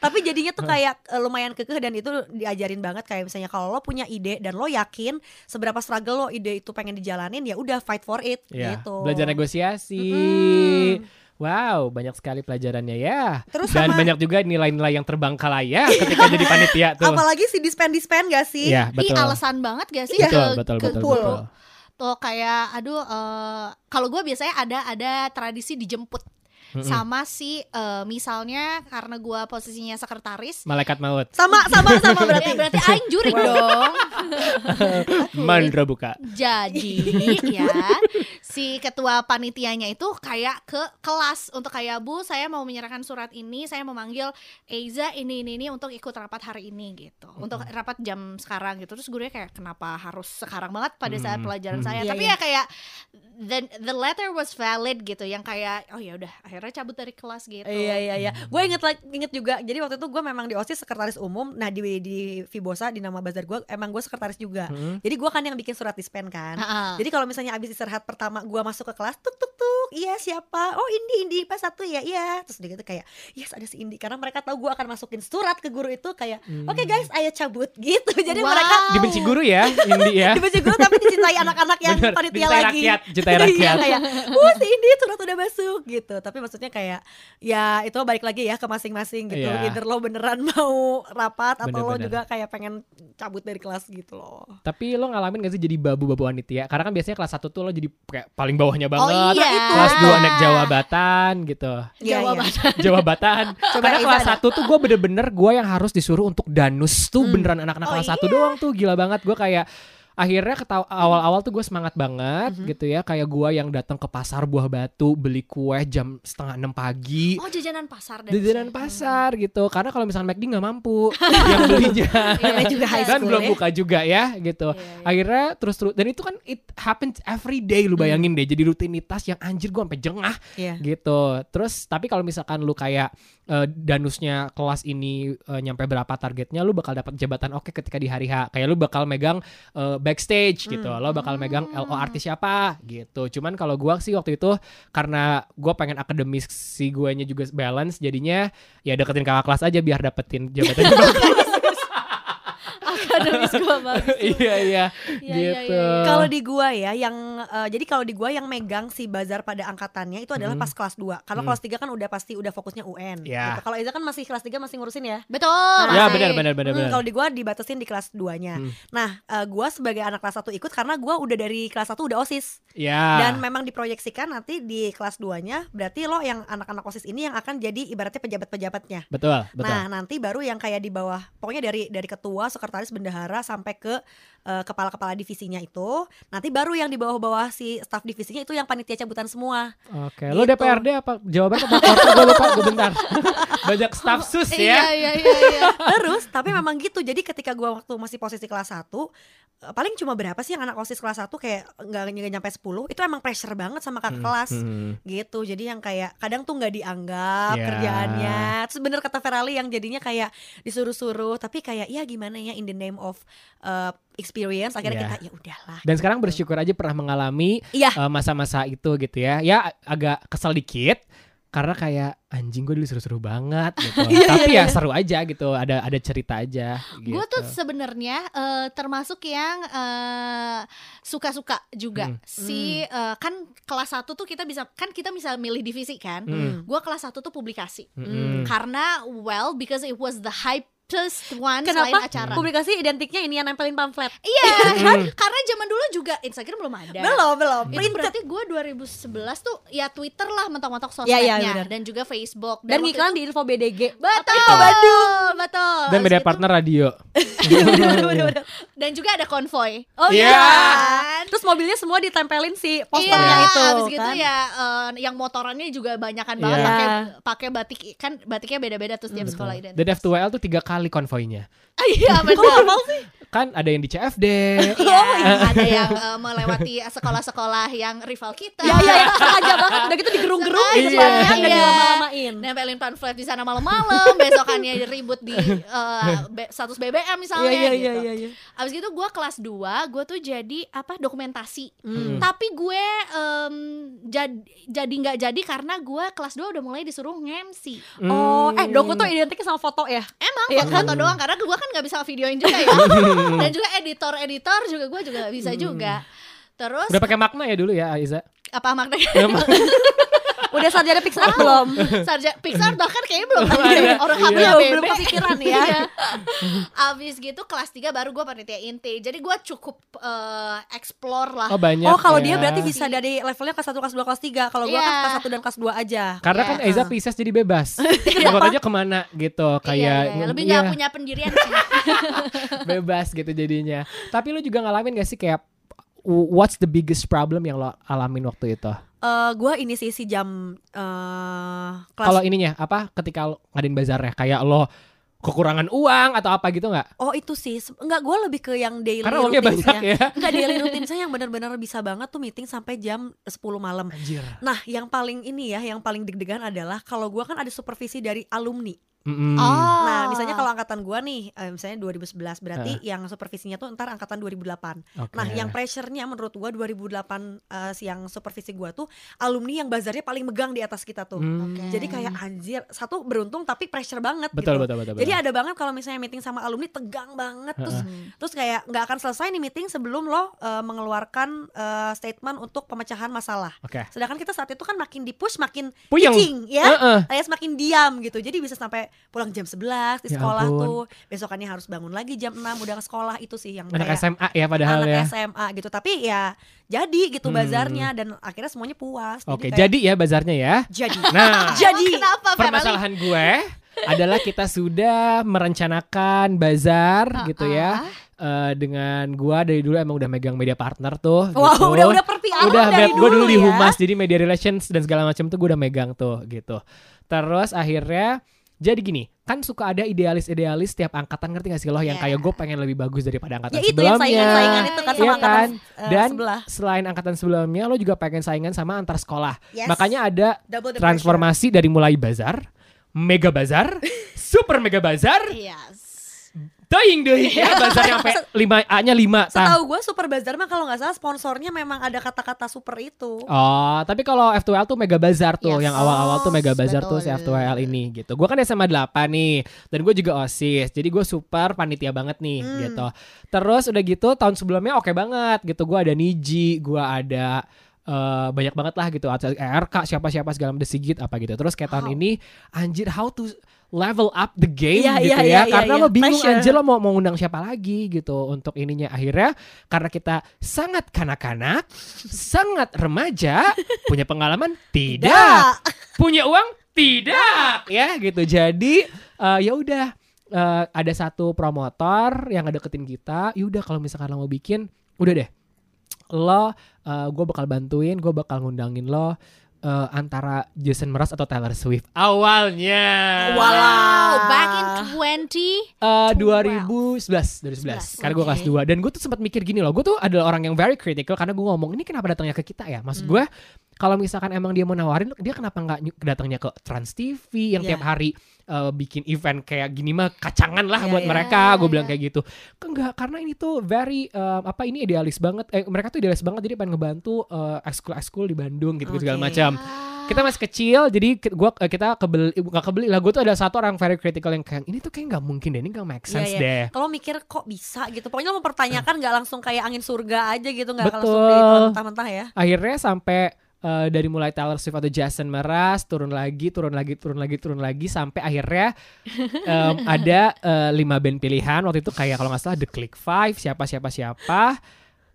[SPEAKER 2] tapi jadinya tuh kayak eh, lumayan kekeh dan itu diajarin banget kayak misalnya kalau lo punya ide dan lo yakin seberapa struggle lo ide itu pengen dijalanin ya udah fight for it
[SPEAKER 3] Iya.
[SPEAKER 2] gitu.
[SPEAKER 3] Belajar negosiasi. Wow, banyak sekali pelajarannya ya.
[SPEAKER 2] Terus
[SPEAKER 3] Dan
[SPEAKER 2] sama-
[SPEAKER 3] banyak juga nilai-nilai yang terbangkalai ya ketika jadi panitia tuh.
[SPEAKER 2] Apalagi si dispen-dispen gak sih?
[SPEAKER 3] Iya,
[SPEAKER 4] Ih,
[SPEAKER 3] betul. Iya.
[SPEAKER 4] alasan banget gak
[SPEAKER 2] ya.
[SPEAKER 4] sih
[SPEAKER 3] Betul,
[SPEAKER 4] ke-
[SPEAKER 3] betul,
[SPEAKER 4] ke
[SPEAKER 3] betul,
[SPEAKER 4] pool?
[SPEAKER 3] betul.
[SPEAKER 4] Tuh kayak aduh eh, kalau gue biasanya ada ada tradisi dijemput sama si eh, misalnya karena gue posisinya sekretaris
[SPEAKER 3] Malaikat maut.
[SPEAKER 2] Sama sama sama berarti.
[SPEAKER 4] ya berarti aing jurik dong
[SPEAKER 3] Mandra buka.
[SPEAKER 4] jadi ya si ketua panitianya itu kayak ke kelas untuk kayak bu saya mau menyerahkan surat ini saya memanggil Eiza ini ini ini untuk ikut rapat hari ini gitu untuk rapat jam sekarang gitu terus gurunya kayak kenapa harus sekarang banget pada saat
[SPEAKER 3] Hmm,
[SPEAKER 4] pelajaran
[SPEAKER 3] hmm.
[SPEAKER 4] saya
[SPEAKER 2] Iya,
[SPEAKER 4] tapi
[SPEAKER 2] iya.
[SPEAKER 4] ya kayak the the letter was valid gitu yang kayak oh ya udah akhirnya cabut dari kelas gitu
[SPEAKER 2] Iya iya iya. Gue inget lagi- inget juga. Jadi waktu itu gue memang di osis sekretaris umum. Nah di di Fibosa di nama bazar gue emang gue sekretaris juga.
[SPEAKER 3] Hmm.
[SPEAKER 2] Jadi gue kan yang bikin surat dispen kan.
[SPEAKER 4] Ha-ha.
[SPEAKER 2] Jadi kalau misalnya abis istirahat pertama gua masuk ke kelas tuk tuk tuk, iya siapa? Oh Indi Indi pas satu ya, iya. Terus dia gitu kayak, yes ada si Indi karena mereka tahu gua akan masukin surat ke guru itu kayak,
[SPEAKER 3] Hmm.
[SPEAKER 2] oke guys ayo cabut gitu. Jadi
[SPEAKER 4] Wow.
[SPEAKER 2] mereka
[SPEAKER 3] Dibenci guru ya, Indi ya.
[SPEAKER 2] dibenci guru tapi dicintai anak-anak yang
[SPEAKER 3] Bener,
[SPEAKER 2] panitia
[SPEAKER 3] dicintai
[SPEAKER 2] lagi.
[SPEAKER 3] rakyat, dicintai
[SPEAKER 2] Iya,
[SPEAKER 3] rakyat.
[SPEAKER 2] kayak, wah si Indi surat udah masuk gitu. Tapi maksudnya kayak, ya itu balik lagi ya ke masing-masing gitu.
[SPEAKER 3] Iya.
[SPEAKER 2] Either lo beneran mau rapat atau lo
[SPEAKER 3] Bener-bener.
[SPEAKER 2] juga kayak pengen cabut dari kelas gitu loh.
[SPEAKER 3] Tapi lo ngalamin gak sih jadi babu-babu panitia? Karena kan biasanya kelas 1 tuh lo jadi kayak paling bawahnya
[SPEAKER 4] oh
[SPEAKER 3] banget.
[SPEAKER 4] iya
[SPEAKER 3] Kelas 2 naik jawabatan gitu.
[SPEAKER 2] Iya, iya.
[SPEAKER 4] jawaban
[SPEAKER 3] Jawabatan. Karena
[SPEAKER 2] Eza
[SPEAKER 3] kelas
[SPEAKER 2] ada.
[SPEAKER 3] 1 tuh gue bener-bener gue yang harus disuruh untuk danus tuh beneran anak-anak
[SPEAKER 4] Oh,
[SPEAKER 3] kelas 1 doang tuh gila banget gue kayak akhirnya ketawa, awal-awal tuh gue semangat banget gitu ya kayak gue yang datang ke pasar buah batu beli kue jam setengah enam pagi
[SPEAKER 4] oh jajanan pasar Iya, dan
[SPEAKER 3] jajanan pasar gitu karena kalau misalnya McD nggak mampu yang belinya
[SPEAKER 2] Namanya juga high
[SPEAKER 3] dan
[SPEAKER 2] school
[SPEAKER 3] Kan belum
[SPEAKER 2] ya.
[SPEAKER 3] buka juga ya gitu
[SPEAKER 4] Iya, iya.
[SPEAKER 3] akhirnya terus terus dan itu kan it happens every day lu bayangin deh jadi rutinitas yang anjir gue sampai jengah
[SPEAKER 2] Iya.
[SPEAKER 3] gitu terus tapi kalau misalkan lu kayak eh, danusnya kelas ini eh, nyampe berapa targetnya lu bakal dapat jabatan oke ketika di hari H kayak lu bakal megang eh, backstage gitu lo bakal megang LO artis siapa gitu cuman kalau gua sih waktu itu karena gua pengen akademis si guanya juga balance jadinya ya deketin kakak kelas aja biar dapetin jabatan
[SPEAKER 4] akademis gua bagus
[SPEAKER 3] iya iya
[SPEAKER 4] Iya, iya,
[SPEAKER 3] gitu
[SPEAKER 4] iya, iya.
[SPEAKER 2] Kalau di gua ya yang eh, jadi kalau di gua yang megang si bazar pada angkatannya itu adalah
[SPEAKER 3] Hmm.
[SPEAKER 2] pas kelas 2. Kalau
[SPEAKER 3] Hmm.
[SPEAKER 2] kelas 3 kan udah pasti udah fokusnya UN.
[SPEAKER 3] Ya.
[SPEAKER 2] gitu. Kalau Eza kan masih kelas 3 masih ngurusin ya.
[SPEAKER 4] betul
[SPEAKER 3] ya
[SPEAKER 4] Mas
[SPEAKER 3] benar
[SPEAKER 4] Aik.
[SPEAKER 3] benar benar
[SPEAKER 2] Hmm,
[SPEAKER 3] benar
[SPEAKER 2] kalau di gua dibatasin di kelas 2-nya.
[SPEAKER 3] Hmm.
[SPEAKER 2] Nah, eh, gua sebagai anak kelas 1 ikut karena gua udah dari kelas 1 udah OSIS
[SPEAKER 3] ya
[SPEAKER 2] dan memang diproyeksikan nanti di kelas 2-nya berarti lo yang anak-anak OSIS ini yang akan jadi ibaratnya pejabat-pejabatnya.
[SPEAKER 3] betul betul
[SPEAKER 2] Nah, nanti baru yang kayak di bawah, pokoknya dari dari ketua, sekretaris, bendahara sampai ke eh, kepala-kepala divisinya itu, nanti baru yang di bawah-bawah si staff divisinya itu yang panitia cabutan semua.
[SPEAKER 3] Oke, lo
[SPEAKER 2] Gitu.
[SPEAKER 3] DPRD apa? Jawabannya apa? Korpor gue lupa, gue bentar. Banyak staff sus
[SPEAKER 4] iya
[SPEAKER 3] ya.
[SPEAKER 4] iya iya, iya.
[SPEAKER 2] Terus, tapi memang gitu. Jadi ketika gua waktu masih posisi kelas 1, eh, paling cuma berapa sih yang anak OSIS kelas 1 kayak nggak nggak nyampe 10, itu emang pressure banget sama kakak kelas.
[SPEAKER 3] Hmm.
[SPEAKER 2] gitu jadi yang kayak kadang tuh nggak dianggap
[SPEAKER 3] Ya.
[SPEAKER 2] kerjaannya terus bener kata Ferali yang jadinya kayak disuruh-suruh tapi kayak ya gimana ya in the name of uh, experience akhirnya
[SPEAKER 3] Ya.
[SPEAKER 2] kita ya udahlah Gitu.
[SPEAKER 3] Dan sekarang bersyukur aja pernah mengalami
[SPEAKER 2] Iya.
[SPEAKER 3] eh, masa-masa itu gitu ya. Ya ag- agak kesel dikit karena kayak anjing gue dulu seru-seru banget gitu.
[SPEAKER 2] Iya,
[SPEAKER 3] Tapi
[SPEAKER 2] iya,
[SPEAKER 3] ya seru aja gitu, ada ada cerita aja gitu.
[SPEAKER 4] Gue tuh sebenarnya eh, termasuk yang eh, suka-suka juga
[SPEAKER 3] Hmm.
[SPEAKER 4] si eh, kan kelas 1 tuh kita bisa kan kita bisa milih divisi kan.
[SPEAKER 3] Hmm.
[SPEAKER 4] Gue kelas 1 tuh publikasi.
[SPEAKER 3] Mm-mm.
[SPEAKER 4] Karena well because it was the hypest one selain
[SPEAKER 2] kenapa
[SPEAKER 4] acara.
[SPEAKER 2] publikasi identiknya ini yang nempelin pamflet
[SPEAKER 4] Iya
[SPEAKER 3] Hmm.
[SPEAKER 4] kan? Karena zaman dulu juga Instagram belum ada.
[SPEAKER 2] belum belum
[SPEAKER 4] Iya. Itu berarti gue 2011 tuh ya Twitter lah mentok-mentok
[SPEAKER 2] Iya,
[SPEAKER 4] sosmednya
[SPEAKER 2] iya, benar.
[SPEAKER 4] Ya, dan juga Facebook
[SPEAKER 2] dan
[SPEAKER 4] waktu
[SPEAKER 2] iklan di info BDG
[SPEAKER 4] itu- betul Bandung betul
[SPEAKER 3] Dan
[SPEAKER 4] Abis
[SPEAKER 3] beda
[SPEAKER 4] itu-
[SPEAKER 3] partner radio.
[SPEAKER 4] dan juga ada konvoy
[SPEAKER 2] oh
[SPEAKER 3] Iya.
[SPEAKER 2] iya
[SPEAKER 4] Iya.
[SPEAKER 2] terus mobilnya semua ditempelin si
[SPEAKER 4] Iya,
[SPEAKER 2] posternya itu
[SPEAKER 4] abis gitu
[SPEAKER 2] kan?
[SPEAKER 4] ya eh, yang motorannya juga banyakan banget
[SPEAKER 3] Iya.
[SPEAKER 4] pakai pakai batik kan batiknya beda-beda terus tiap sekolah
[SPEAKER 3] Betul. The
[SPEAKER 4] identik.
[SPEAKER 3] Dev 2L tuh tiga kali konvoinya.
[SPEAKER 4] Iya,
[SPEAKER 2] Kok
[SPEAKER 4] betul.
[SPEAKER 2] hafal sih?
[SPEAKER 3] kan ada yang di CFD
[SPEAKER 4] Iya, ada yang eh, melewati sekolah-sekolah yang rival kita.
[SPEAKER 2] Ya ya, sengaja banget udah gitu digerung-gerung
[SPEAKER 4] Sengaja.
[SPEAKER 2] di depannya enggak
[SPEAKER 4] Iya.
[SPEAKER 2] dilama-lamain.
[SPEAKER 4] nempelin pamflet di sana malam-malam, besokannya ribut di eh, be- status BBM misalnya
[SPEAKER 2] Iya
[SPEAKER 4] gitu.
[SPEAKER 2] iya iya iya.
[SPEAKER 4] Abis gitu gue kelas 2, gue tuh jadi apa dokumentasi.
[SPEAKER 3] Hmm.
[SPEAKER 4] Tapi gue em, jad- jadi nggak jadi karena gue kelas 2 udah mulai disuruh nge-MC.
[SPEAKER 2] Oh,
[SPEAKER 3] Hmm.
[SPEAKER 2] eh doku tuh identiknya sama foto ya.
[SPEAKER 4] Emang
[SPEAKER 2] Iya
[SPEAKER 4] foto doang karena gue kan nggak bisa videoin juga ya. Dan juga editor-editor juga gue juga nggak bisa
[SPEAKER 3] Hmm.
[SPEAKER 4] juga. Terus
[SPEAKER 3] udah pakai makna ya dulu ya Aiza
[SPEAKER 4] apa maknanya?
[SPEAKER 3] Ya, mak-
[SPEAKER 2] Udah sarjana pixel art belum?
[SPEAKER 4] Sarja Pixar bahkan kayaknya belum
[SPEAKER 3] Belum
[SPEAKER 4] ada
[SPEAKER 3] ada,
[SPEAKER 4] orang
[SPEAKER 3] iya.
[SPEAKER 4] hamil
[SPEAKER 2] Belum,
[SPEAKER 4] bebek.
[SPEAKER 2] belum kepikiran ya.
[SPEAKER 4] Iya. Abis gitu kelas 3 baru gue panitia inti. Jadi gue cukup eh, explore lah.
[SPEAKER 3] oh banyak
[SPEAKER 2] Oh, kalau dia
[SPEAKER 3] ya.
[SPEAKER 2] berarti bisa dari levelnya kelas 1, kelas 2, kelas 3. Kalau gua kan
[SPEAKER 4] Iya.
[SPEAKER 2] kelas 1 dan kelas 2 aja.
[SPEAKER 3] karena
[SPEAKER 4] Iya.
[SPEAKER 3] kan Aiza Pisces jadi bebas mau aja kemana gitu
[SPEAKER 4] Iya,
[SPEAKER 3] kayak
[SPEAKER 4] iya, iya. lebih
[SPEAKER 3] iya,
[SPEAKER 4] nggak punya pendirian sih.
[SPEAKER 3] bebas gitu jadinya tapi lu juga ngalamin gak sih kayak w- what's the biggest problem yang lo alamin waktu itu
[SPEAKER 2] Eh, gua ini sih si jam eh kelas
[SPEAKER 3] kalau ininya apa ketika lo ngadain bazarnya kayak lo kekurangan uang atau apa gitu nggak
[SPEAKER 2] Oh itu sih, Se- enggak gue lebih ke yang daily
[SPEAKER 3] karena uangnya banyak
[SPEAKER 2] routine-nya
[SPEAKER 3] ya
[SPEAKER 2] Enggak daily routine saya yang benar-benar bisa banget tuh meeting sampai jam 10 malam
[SPEAKER 3] anjir
[SPEAKER 2] Nah yang paling ini ya, yang paling deg-degan adalah Kalau gua kan ada supervisi dari alumni
[SPEAKER 3] Mm-mm.
[SPEAKER 4] Oh.
[SPEAKER 2] Nah misalnya kalau angkatan gua nih, eh, misalnya 2011 Berarti yang supervisinya tuh ntar angkatan 2008
[SPEAKER 3] Oke.
[SPEAKER 2] Nah yang pressure-nya menurut gua 2008 eh, yang supervisi gua tuh Alumni yang bazarnya paling megang di atas kita tuh
[SPEAKER 3] Hmm.
[SPEAKER 4] Oke.
[SPEAKER 2] Jadi kayak anjir, satu beruntung tapi pressure banget
[SPEAKER 3] betul,
[SPEAKER 2] gitu
[SPEAKER 3] betul betul betul
[SPEAKER 2] Jadi ada banget kalau misalnya meeting sama alumni tegang banget terus terus kayak nggak akan selesai nih meeting sebelum lo eh, mengeluarkan eh, statement untuk pemecahan masalah.
[SPEAKER 3] oke
[SPEAKER 2] Sedangkan kita saat itu kan makin dipush makin
[SPEAKER 3] Puyeng.
[SPEAKER 2] cicing ya.
[SPEAKER 3] Heeh.
[SPEAKER 2] Alias makin diam gitu. Jadi bisa sampai pulang jam 11 di
[SPEAKER 3] Ya
[SPEAKER 2] sekolah
[SPEAKER 3] ampun.
[SPEAKER 2] tuh. Besokannya harus bangun lagi jam 6 udah ke sekolah itu sih yang
[SPEAKER 3] anak
[SPEAKER 2] kayak
[SPEAKER 3] SMA ya padahal
[SPEAKER 2] Iya. anak
[SPEAKER 3] ya
[SPEAKER 2] SMA gitu. Tapi ya jadi gitu
[SPEAKER 3] Hmm.
[SPEAKER 2] bazarnya dan akhirnya semuanya puas.
[SPEAKER 3] oke
[SPEAKER 2] kayak-
[SPEAKER 3] jadi ya bazarnya ya
[SPEAKER 2] jadi
[SPEAKER 3] nah
[SPEAKER 2] jadi
[SPEAKER 4] Ah. kenapa Ferali?
[SPEAKER 3] permasalahan gue adalah kita sudah merencanakan bazar
[SPEAKER 2] Ah,
[SPEAKER 3] gitu ya Eh, dengan gue dari dulu emang udah megang media partner tuh
[SPEAKER 2] Wah,
[SPEAKER 3] gitu.
[SPEAKER 2] udah udah perpi awal
[SPEAKER 3] udah
[SPEAKER 2] dari
[SPEAKER 3] gue dulu di
[SPEAKER 2] ya.
[SPEAKER 3] humas jadi media relations dan segala macam tuh gue udah megang tuh gitu terus akhirnya jadi gini kan suka ada idealis-idealis tiap angkatan ngerti gak sih lo yang
[SPEAKER 4] Ya.
[SPEAKER 3] kayak gue pengen lebih bagus daripada angkatan
[SPEAKER 2] Iya. Ya itu yang
[SPEAKER 3] sebelumnya
[SPEAKER 2] saingan-saingan itu kan sama
[SPEAKER 3] Iya
[SPEAKER 2] angkatan eh,
[SPEAKER 3] dan
[SPEAKER 2] sebelah.
[SPEAKER 3] selain angkatan sebelumnya lo juga pengen saingan sama antar sekolah
[SPEAKER 2] Yes.
[SPEAKER 3] makanya ada
[SPEAKER 2] Double the
[SPEAKER 3] transformasi dari mulai bazar mega bazar super mega bazar
[SPEAKER 4] Yes.
[SPEAKER 3] doing doing ya bazar yang sampai 5 a nya 5
[SPEAKER 2] Setahu gue Super Bazar mah kalau nggak salah sponsornya memang ada kata-kata super itu.
[SPEAKER 3] Oh, tapi kalau F2L tuh Mega Bazar tuh,
[SPEAKER 4] Yes.
[SPEAKER 3] yang awal-awal tuh Mega
[SPEAKER 4] Oh,
[SPEAKER 3] Bazar tuh si
[SPEAKER 4] betul.
[SPEAKER 3] F2L ini gitu. Gua kan SMA 8 nih, dan gue juga OSIS. Jadi gue super panitia banget nih
[SPEAKER 2] Hmm.
[SPEAKER 3] gitu. Terus udah gitu tahun sebelumnya oke banget gitu. Gua ada Niji, gua ada eh, banyak banget lah gitu ada ERK siapa-siapa segala macam Sigit apa gitu terus kayak tahun
[SPEAKER 4] How?
[SPEAKER 3] ini anjir how to level up the game
[SPEAKER 2] Iya,
[SPEAKER 3] gitu
[SPEAKER 2] iya,
[SPEAKER 3] ya
[SPEAKER 2] iya,
[SPEAKER 3] karena
[SPEAKER 2] iya,
[SPEAKER 3] lo
[SPEAKER 2] iya.
[SPEAKER 3] bingung
[SPEAKER 2] Pressure.
[SPEAKER 3] anjir lo mau mau ngundang siapa lagi gitu untuk ininya akhirnya karena kita sangat kanak-kanak sangat remaja punya pengalaman tidak punya uang tidak ya gitu jadi eh, ya udah eh, ada satu promotor yang ngedeketin kita yaudah kalau misalkan lo mau bikin udah deh lo gue bakal bantuin gue bakal ngundangin lo eh, antara Jason Mraz atau Taylor Swift awalnya
[SPEAKER 4] Wow, back in 20.
[SPEAKER 3] Ah. Eh,
[SPEAKER 4] 12.
[SPEAKER 3] 2011 2011 karena gue kelas 2 dan gue tuh sempat mikir gini loh gue tuh adalah orang yang very critical karena gue ngomong ini kenapa datangnya ke kita ya maksud gue kalau misalkan emang dia mau nawarin dia kenapa nggak ny- datangnya ke Trans TV yang
[SPEAKER 2] Iya.
[SPEAKER 3] tiap hari eh, bikin event kayak gini mah kacangan lah
[SPEAKER 2] Iya,
[SPEAKER 3] buat
[SPEAKER 2] iya.
[SPEAKER 3] mereka gue
[SPEAKER 4] Iya,
[SPEAKER 3] bilang
[SPEAKER 4] iya.
[SPEAKER 3] kayak gitu enggak karena ini tuh very eh, apa ini idealis banget eh, mereka tuh idealis banget jadi pengen ngebantu eh, ekskul-ekskul di Bandung gitu segala
[SPEAKER 2] Oke.
[SPEAKER 4] ah.
[SPEAKER 3] macam kita masih kecil jadi ke- gua eh, kita kebeli nggak kebeli lah gue tuh ada satu orang very critical yang kayak ini tuh kayak nggak mungkin deh ini nggak make
[SPEAKER 2] Iya,
[SPEAKER 3] sense
[SPEAKER 2] iya.
[SPEAKER 3] deh
[SPEAKER 2] Kalau mikir kok bisa gitu. Pokoknya lo mempertanyakan nggak langsung kayak angin surga aja gitu nggak akan
[SPEAKER 3] Betul.
[SPEAKER 2] langsung ditelan mentah-mentah ya.
[SPEAKER 3] akhirnya sampai eh, dari mulai Taylor Swift atau Jason Mraz turun lagi turun lagi turun lagi turun lagi sampai akhirnya em, ada eh, lima band pilihan waktu itu kayak kalau nggak salah The Click Five siapa siapa siapa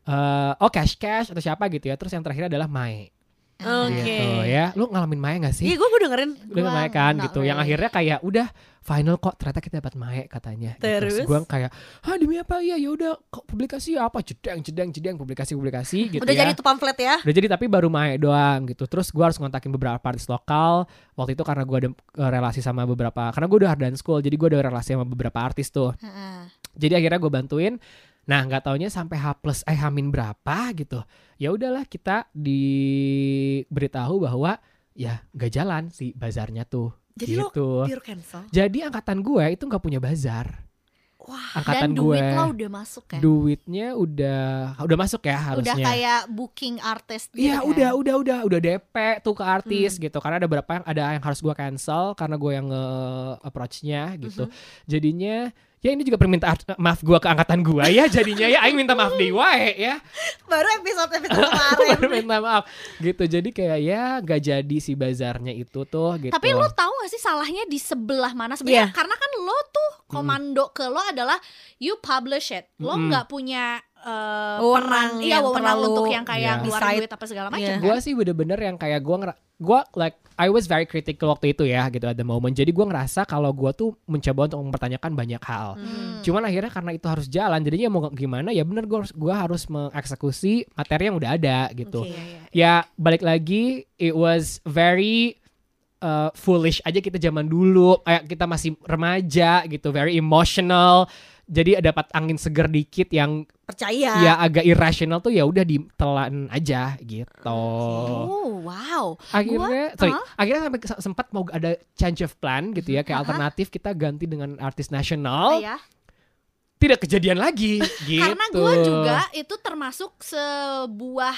[SPEAKER 3] eh oh Cash Cash atau siapa gitu ya terus yang terakhir adalah Mae
[SPEAKER 4] Iya.
[SPEAKER 2] Oke.
[SPEAKER 3] gitu ya. Lu ngalamin Maya gak
[SPEAKER 2] Iya,
[SPEAKER 3] sih?
[SPEAKER 2] gue gue dengerin.
[SPEAKER 3] Lu
[SPEAKER 4] Gua
[SPEAKER 3] Maya kan
[SPEAKER 4] nggak
[SPEAKER 2] ya.
[SPEAKER 3] gitu. Yang
[SPEAKER 4] really.
[SPEAKER 3] akhirnya kayak udah final kok ternyata kita dapat Maya katanya. gitu.
[SPEAKER 2] Terus?
[SPEAKER 3] gue kayak, "Hah, demi apa? Iya, ya udah kok publikasi apa? Jedang, jedang, jedang publikasi publikasi gitu
[SPEAKER 2] Udah
[SPEAKER 3] ya.
[SPEAKER 2] jadi tuh pamflet ya.
[SPEAKER 3] Udah jadi tapi baru Mae doang gitu. Terus gue harus ngontakin beberapa artis lokal. Waktu itu karena gue ada eh, relasi sama beberapa. Karena gue udah dan school, jadi gue ada relasi sama beberapa artis tuh.
[SPEAKER 4] Heeh.
[SPEAKER 3] Jadi akhirnya gue bantuin. Nah nggak taunya sampai H plus eh Hamin berapa gitu. Ya udahlah kita diberitahu bahwa ya nggak jalan si bazarnya tuh.
[SPEAKER 2] Jadi lo
[SPEAKER 3] gitu.
[SPEAKER 2] pure cancel.
[SPEAKER 3] Jadi angkatan gue itu nggak punya bazar.
[SPEAKER 4] Ah,
[SPEAKER 2] Wah.
[SPEAKER 4] Dan
[SPEAKER 3] Angkatan
[SPEAKER 4] duit
[SPEAKER 3] gue
[SPEAKER 4] lo udah masuk kan?
[SPEAKER 3] duitnya udah udah masuk ya harusnya.
[SPEAKER 4] Udah kayak booking artis gitu Hmm.
[SPEAKER 3] Iya
[SPEAKER 4] kan?
[SPEAKER 3] udah udah udah udah DP tuh ke artis gitu karena ada berapa yang ada yang harus gua cancel karena gue yang nge eh, approach-nya gitu.
[SPEAKER 4] Mhm.
[SPEAKER 3] Jadinya ya ini juga permintaan maaf gua ke angkatan gua ya jadinya ya aing minta maaf deh wae ya.
[SPEAKER 2] Baru episode episode kemarin.
[SPEAKER 3] Baru minta maaf gitu. Jadi kayak ya gak jadi si bazarnya itu tuh gitu. Iya.
[SPEAKER 4] Tapi lo tahu gak sih salahnya di sebelah mana sebenarnya? Karena kan lo tuh
[SPEAKER 3] Hmm.
[SPEAKER 4] komando ke lo adalah you publish it. Lo
[SPEAKER 3] Mm-mm.
[SPEAKER 4] nggak punya eh,
[SPEAKER 2] Wewenang
[SPEAKER 4] peran, iya
[SPEAKER 2] yang
[SPEAKER 4] wewenang
[SPEAKER 2] terlalu
[SPEAKER 4] untuk yang kayak
[SPEAKER 3] Iya.
[SPEAKER 4] ngeluarin
[SPEAKER 2] decide.
[SPEAKER 4] duit apa segala macam.
[SPEAKER 2] Iya.
[SPEAKER 4] kan?
[SPEAKER 3] gue sih bener-bener yang kayak gue ngera gue like I was very critical waktu itu ya gitu ada momen jadi gue ngerasa kalau gue tuh mencoba untuk mempertanyakan banyak hal
[SPEAKER 4] Hmm.
[SPEAKER 3] cuman akhirnya karena itu harus jalan jadinya mau gimana ya bener gue harus gue harus mengeksekusi materi yang udah ada gitu
[SPEAKER 4] Iya, iya.
[SPEAKER 3] ya balik lagi it was very uh, foolish aja kita zaman dulu kayak kita masih remaja gitu very emotional jadi dapat angin seger dikit yang
[SPEAKER 2] Percaya.
[SPEAKER 3] ya agak irasional tuh ya udah ditelan aja gitu
[SPEAKER 4] Oh wow.
[SPEAKER 3] akhirnya
[SPEAKER 4] Gua-
[SPEAKER 3] sorry,
[SPEAKER 4] Hah?
[SPEAKER 3] akhirnya sampai se- sempat mau ada change of plan gitu ya kayak
[SPEAKER 4] Mm-hmm. Hah?
[SPEAKER 3] alternatif kita ganti dengan artis
[SPEAKER 4] Oh,
[SPEAKER 3] nasional
[SPEAKER 4] ya.
[SPEAKER 3] tidak kejadian lagi gitu
[SPEAKER 4] Karena gue juga itu termasuk sebuah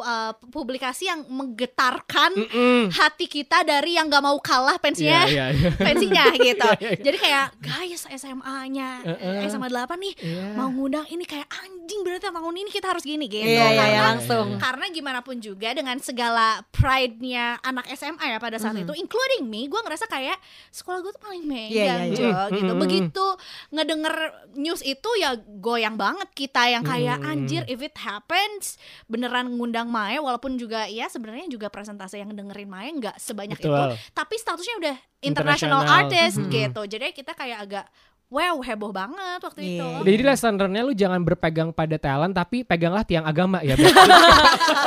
[SPEAKER 4] eh, publikasi yang menggetarkan
[SPEAKER 3] Mm-mm.
[SPEAKER 4] hati kita dari yang nggak mau kalah
[SPEAKER 3] Iya,
[SPEAKER 4] pensinya
[SPEAKER 3] iya, iya.
[SPEAKER 4] pensinya gitu.
[SPEAKER 3] Iya, iya.
[SPEAKER 4] Jadi kayak guys SMA-nya
[SPEAKER 3] Heeh.
[SPEAKER 4] SMA 8 nih
[SPEAKER 3] Iya.
[SPEAKER 4] mau ngundang ini kayak anjing berarti sama ngundang ini kita harus gini gitu
[SPEAKER 2] Iya iya iya,
[SPEAKER 4] karena
[SPEAKER 2] langsung.
[SPEAKER 4] karena gimana pun juga dengan segala pride-nya anak SMA ya pada saat itu including me gue ngerasa kayak sekolah gue tuh paling
[SPEAKER 2] Iya,
[SPEAKER 4] megang
[SPEAKER 2] iya,
[SPEAKER 4] Jo,
[SPEAKER 3] iya. Mm,
[SPEAKER 4] gitu
[SPEAKER 3] mm, mm.
[SPEAKER 4] begitu ngedenger news itu ya goyang banget kita yang kayak
[SPEAKER 3] Mm.
[SPEAKER 4] anjir if it happens beneran ngundang Mae walaupun juga ya sebenarnya juga presentasi yang dengerin Mae nggak sebanyak itu
[SPEAKER 3] Betul.
[SPEAKER 4] tapi statusnya udah international
[SPEAKER 3] International.
[SPEAKER 4] artist
[SPEAKER 3] Mm.
[SPEAKER 4] gitu jadi kita kayak agak wow heboh banget waktu
[SPEAKER 2] Iya.
[SPEAKER 4] itu
[SPEAKER 3] Udah jadi lesson learn-nya lu jangan berpegang pada talent tapi peganglah tiang agama ya. Beb.
[SPEAKER 4] Iya.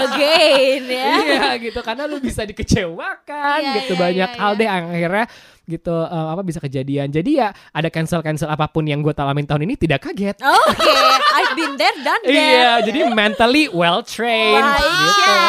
[SPEAKER 2] Again ya.
[SPEAKER 3] Iya gitu karena lu bisa dikecewakan
[SPEAKER 4] Iya,
[SPEAKER 3] gitu
[SPEAKER 4] iya,
[SPEAKER 3] banyak
[SPEAKER 4] iya,
[SPEAKER 3] hal
[SPEAKER 4] iya.
[SPEAKER 3] deh yang akhirnya gitu eh, apa bisa kejadian. Jadi ya ada cancel-cancel apapun yang gue alamin tahun ini tidak kaget.
[SPEAKER 2] Oke, I've been there done that.
[SPEAKER 3] Iya, jadi mentally well trained
[SPEAKER 2] Wah,
[SPEAKER 3] gitu.
[SPEAKER 2] iya.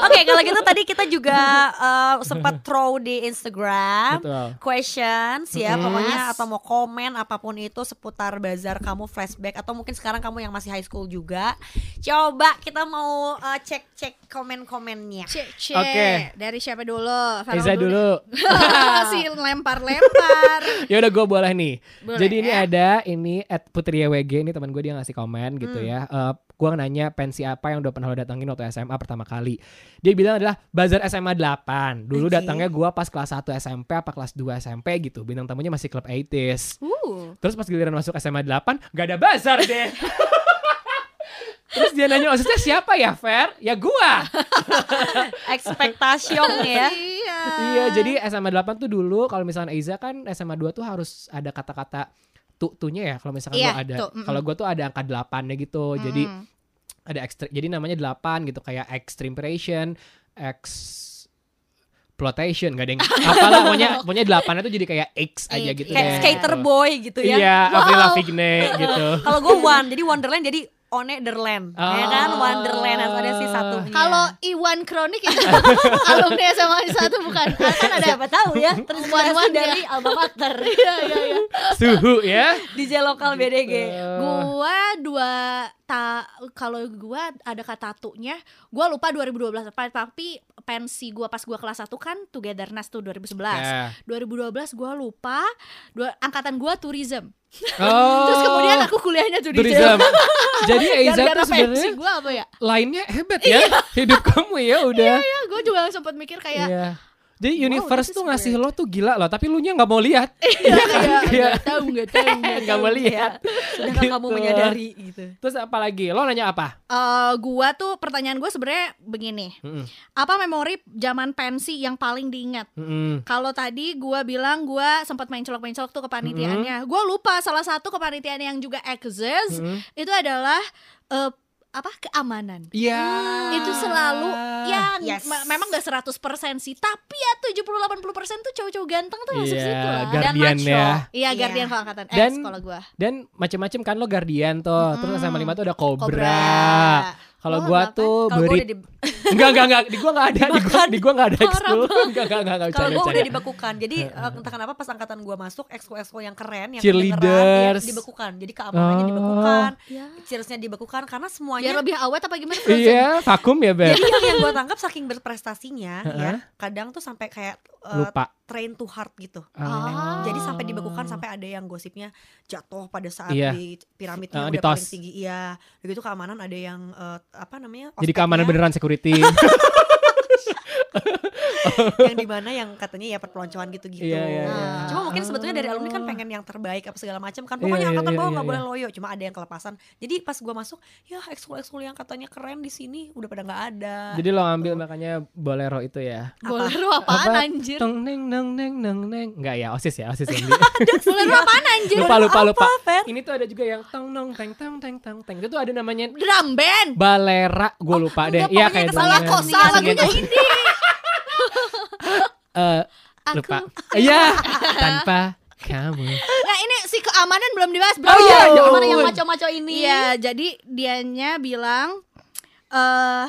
[SPEAKER 2] Oke, kalau gitu tadi kita juga eh, sempat throw di Instagram
[SPEAKER 3] Betul.
[SPEAKER 2] questions ya,
[SPEAKER 3] Yes.
[SPEAKER 2] pokoknya atau mau komen apapun itu seputar bazar kamu flashback atau mungkin sekarang kamu yang masih high school juga. Coba kita mau eh, cek-cek komen-komennya.
[SPEAKER 4] Cek, cek.
[SPEAKER 3] Oke.
[SPEAKER 4] Dari siapa dulu? Farel
[SPEAKER 3] Eza dulu.
[SPEAKER 4] deh. si lempar-lempar.
[SPEAKER 3] Ya udah gue boleh nih.
[SPEAKER 4] Boleh,
[SPEAKER 3] Jadi ini
[SPEAKER 4] ya.
[SPEAKER 3] ada ini at Putri YWG ini teman gue dia ngasih komen gitu ya. Eh gue nanya pensi apa yang udah pernah lo datangin waktu SMA pertama kali. Dia bilang adalah bazar SMA 8. Dulu
[SPEAKER 2] Oke.
[SPEAKER 3] datangnya gue pas kelas 1 SMP apa kelas 2 SMP gitu. Bintang tamunya masih klub 80s.
[SPEAKER 4] Uh.
[SPEAKER 3] Terus pas giliran masuk SMA 8 gak ada bazar deh. Terus dia nanya maksudnya siapa ya Fer? Ya gua.
[SPEAKER 2] Ekspektasi ya.
[SPEAKER 4] Iya.
[SPEAKER 3] Iya, jadi SMA 8 tuh dulu kalau misalkan Eiza kan SMA 2 tuh harus ada kata-kata tu-tunya ya kalau misalkan
[SPEAKER 4] Iya,
[SPEAKER 3] gua ada.
[SPEAKER 4] tu, mm-mm. Mm.
[SPEAKER 3] Kalau gua tuh ada angka 8-nya gitu.
[SPEAKER 4] Mm-mm.
[SPEAKER 3] Jadi
[SPEAKER 2] Hmm.
[SPEAKER 3] ada ekstrim jadi namanya 8 gitu kayak extremperation, ex plotation gak ada yang apalah pokoknya pokoknya 8 itu jadi kayak X aja
[SPEAKER 4] Iya,
[SPEAKER 3] gitu
[SPEAKER 2] Kayak
[SPEAKER 3] deh.
[SPEAKER 2] skater
[SPEAKER 3] Gitu.
[SPEAKER 2] boy gitu ya.
[SPEAKER 3] Iya,
[SPEAKER 2] Wow.
[SPEAKER 3] Avril Lavigne gitu.
[SPEAKER 2] Kalau gue one, jadi Wonderland jadi Onederland. Ya kan
[SPEAKER 3] Oh.
[SPEAKER 2] Wonderland harus ada sih satu.
[SPEAKER 4] Iya. Kalau Iwan Kronik ya, itu alumni SMA satu bukan kan
[SPEAKER 3] Iya.
[SPEAKER 4] ada
[SPEAKER 2] siapa tahu ya terus
[SPEAKER 4] One-one
[SPEAKER 2] dari alma mater
[SPEAKER 4] Iya, iya, iya.
[SPEAKER 3] Suhu ya. Nah.
[SPEAKER 2] di J lokal BDG.
[SPEAKER 3] Oh.
[SPEAKER 4] Gua dua ta kalau gua ada kata tatunya, gua lupa 2012 apa tapi pensi gua pas gua kelas 1 kan Togetherness tuh 2011.
[SPEAKER 3] Ya.
[SPEAKER 4] 2012 gua lupa, dua angkatan gua tourism.
[SPEAKER 3] Oh.
[SPEAKER 4] Terus kemudian aku kuliahnya tourism.
[SPEAKER 3] tourism. jadi Eiza
[SPEAKER 4] Gara-gara
[SPEAKER 3] tuh
[SPEAKER 4] pensi
[SPEAKER 3] sebenarnya
[SPEAKER 4] gua apa ya?
[SPEAKER 3] lainnya hebat ya. Hidup kamu ya udah.
[SPEAKER 4] Ya, gua juga sempat mikir kayak
[SPEAKER 3] Iya. Jadi
[SPEAKER 4] iya, Wow,
[SPEAKER 3] universe
[SPEAKER 4] this is
[SPEAKER 3] tuh ngasih
[SPEAKER 4] weird.
[SPEAKER 3] lo tuh gila loh, tapi lu nya nggak mau lihat.
[SPEAKER 4] Iya, kayak
[SPEAKER 3] Iya.
[SPEAKER 4] nggak tahu nggak tahu nggak
[SPEAKER 3] Nggak mau
[SPEAKER 4] tahu.
[SPEAKER 3] lihat.
[SPEAKER 2] sedangkan kamu
[SPEAKER 3] Gitu.
[SPEAKER 2] menyadari gitu
[SPEAKER 3] Terus apalagi? Lo nanya apa?
[SPEAKER 4] Eh, gua tuh pertanyaan gue sebenarnya begini
[SPEAKER 3] Mm-mm.
[SPEAKER 4] apa memori zaman pensi yang paling diingat
[SPEAKER 3] Mm-mm.
[SPEAKER 4] kalau tadi gua bilang gua sempat main colok-mencolok tuh kepanitiaannya
[SPEAKER 3] Mm-hmm.
[SPEAKER 4] gua lupa salah satu kepanitiaan yang juga exist
[SPEAKER 3] Mm-mm.
[SPEAKER 4] itu adalah eh, apa keamanan
[SPEAKER 3] Iya.
[SPEAKER 4] itu selalu iya. yang
[SPEAKER 2] Yes.
[SPEAKER 4] memang gak 100% sih tapi ya 70-80% tuh cowok-cowok ganteng tuh masuk
[SPEAKER 3] Iya,
[SPEAKER 4] situ lah
[SPEAKER 3] gar- Guardian
[SPEAKER 2] macho.
[SPEAKER 3] ya.
[SPEAKER 4] iya
[SPEAKER 2] Iya.
[SPEAKER 4] guardian kalau angkatan X
[SPEAKER 3] Dan-
[SPEAKER 4] kalau gua
[SPEAKER 3] Dan macem-macem kan lo Guardian tuh. Terus
[SPEAKER 4] Mm-mm.
[SPEAKER 3] SMA 5 tuh ada Cobra.
[SPEAKER 4] Cobra.
[SPEAKER 3] Kalau
[SPEAKER 4] Lo
[SPEAKER 3] gua
[SPEAKER 4] nggak
[SPEAKER 3] tuh
[SPEAKER 2] kalau gue
[SPEAKER 3] beri
[SPEAKER 2] udah di,
[SPEAKER 3] enggak enggak enggak di gua enggak ada di gua di gua enggak ada
[SPEAKER 4] Parah
[SPEAKER 3] ekskul. Enggak enggak enggak enggak
[SPEAKER 2] kalau
[SPEAKER 3] bercanda,
[SPEAKER 2] gue udah
[SPEAKER 3] bercanda.
[SPEAKER 2] dibekukan jadi eh, entah kenapa pas angkatan gue masuk exco exco yang keren yang
[SPEAKER 3] Cheerleaders.
[SPEAKER 2] kedengeran, iya, dibekukan jadi keamanannya
[SPEAKER 3] Oh.
[SPEAKER 2] dibekukan
[SPEAKER 4] Ya.
[SPEAKER 2] cheersnya dibekukan karena
[SPEAKER 4] biar
[SPEAKER 2] semuanya
[SPEAKER 4] lebih awet apa gimana
[SPEAKER 3] Iya, vakum ya, Beb.
[SPEAKER 2] jadi yang, yang gue tangkap saking berprestasinya ya kadang tuh sampai kayak eh,
[SPEAKER 3] Lupa.
[SPEAKER 2] train to heart gitu
[SPEAKER 4] Ah.
[SPEAKER 2] Jadi sampai dibekukan sampai ada yang gosipnya jatuh pada saat
[SPEAKER 3] Iya.
[SPEAKER 2] di piramidnya
[SPEAKER 3] Ah,
[SPEAKER 2] udah
[SPEAKER 3] di tos.
[SPEAKER 2] paling tinggi. Iya, begitu keamanan ada yang eh, apa namanya?
[SPEAKER 3] Jadi keamanan
[SPEAKER 2] ospeknya
[SPEAKER 3] beneran security.
[SPEAKER 2] yang di mana yang katanya ya perpeloncoan gitu-gitu.
[SPEAKER 4] Gitu.
[SPEAKER 3] Iya, iya, iya.
[SPEAKER 4] Nah,
[SPEAKER 2] Cuma mungkin sebetulnya dari alumni kan pengen yang terbaik apa segala macam kan.
[SPEAKER 3] Iya,
[SPEAKER 2] Pokoknya
[SPEAKER 3] iya,
[SPEAKER 2] angkatan
[SPEAKER 3] iya,
[SPEAKER 2] bawah
[SPEAKER 3] iya,
[SPEAKER 2] nggak
[SPEAKER 3] iya.
[SPEAKER 2] boleh loyo, cuma ada yang kelepasan. Jadi pas gua masuk, ya ekskul-ekskul yang katanya keren di sini udah pada nggak ada.
[SPEAKER 3] Jadi lo ambil makanya bolero itu ya.
[SPEAKER 4] bolero apaan
[SPEAKER 3] Apa?
[SPEAKER 4] anjir
[SPEAKER 3] Tong neng neng neng neng neng. Enggak ya, OSIS ya, OSIS yang di-
[SPEAKER 4] bolero apaan anjir
[SPEAKER 3] lupa lupa lupa.
[SPEAKER 2] Iya. Fer?
[SPEAKER 3] Ini tuh ada juga yang tong nong teng teng teng teng teng. Itu tuh ada namanya
[SPEAKER 4] drum band
[SPEAKER 3] balera, gue lupa
[SPEAKER 4] Oh, enggak,
[SPEAKER 3] deh.
[SPEAKER 4] pokoknya
[SPEAKER 3] iya, kayak
[SPEAKER 4] kesalahan
[SPEAKER 3] drum band.
[SPEAKER 4] kosa, lagunya
[SPEAKER 3] Oh,
[SPEAKER 4] ini
[SPEAKER 3] eh,
[SPEAKER 4] Aku-
[SPEAKER 3] lupa. Iya, tanpa kamu.
[SPEAKER 4] nah ini si keamanan belum dibahas bro
[SPEAKER 3] iya, ya
[SPEAKER 4] Keamanan yang
[SPEAKER 3] ampun.
[SPEAKER 4] maco-maco ini iya jadi dianya bilang eh eh,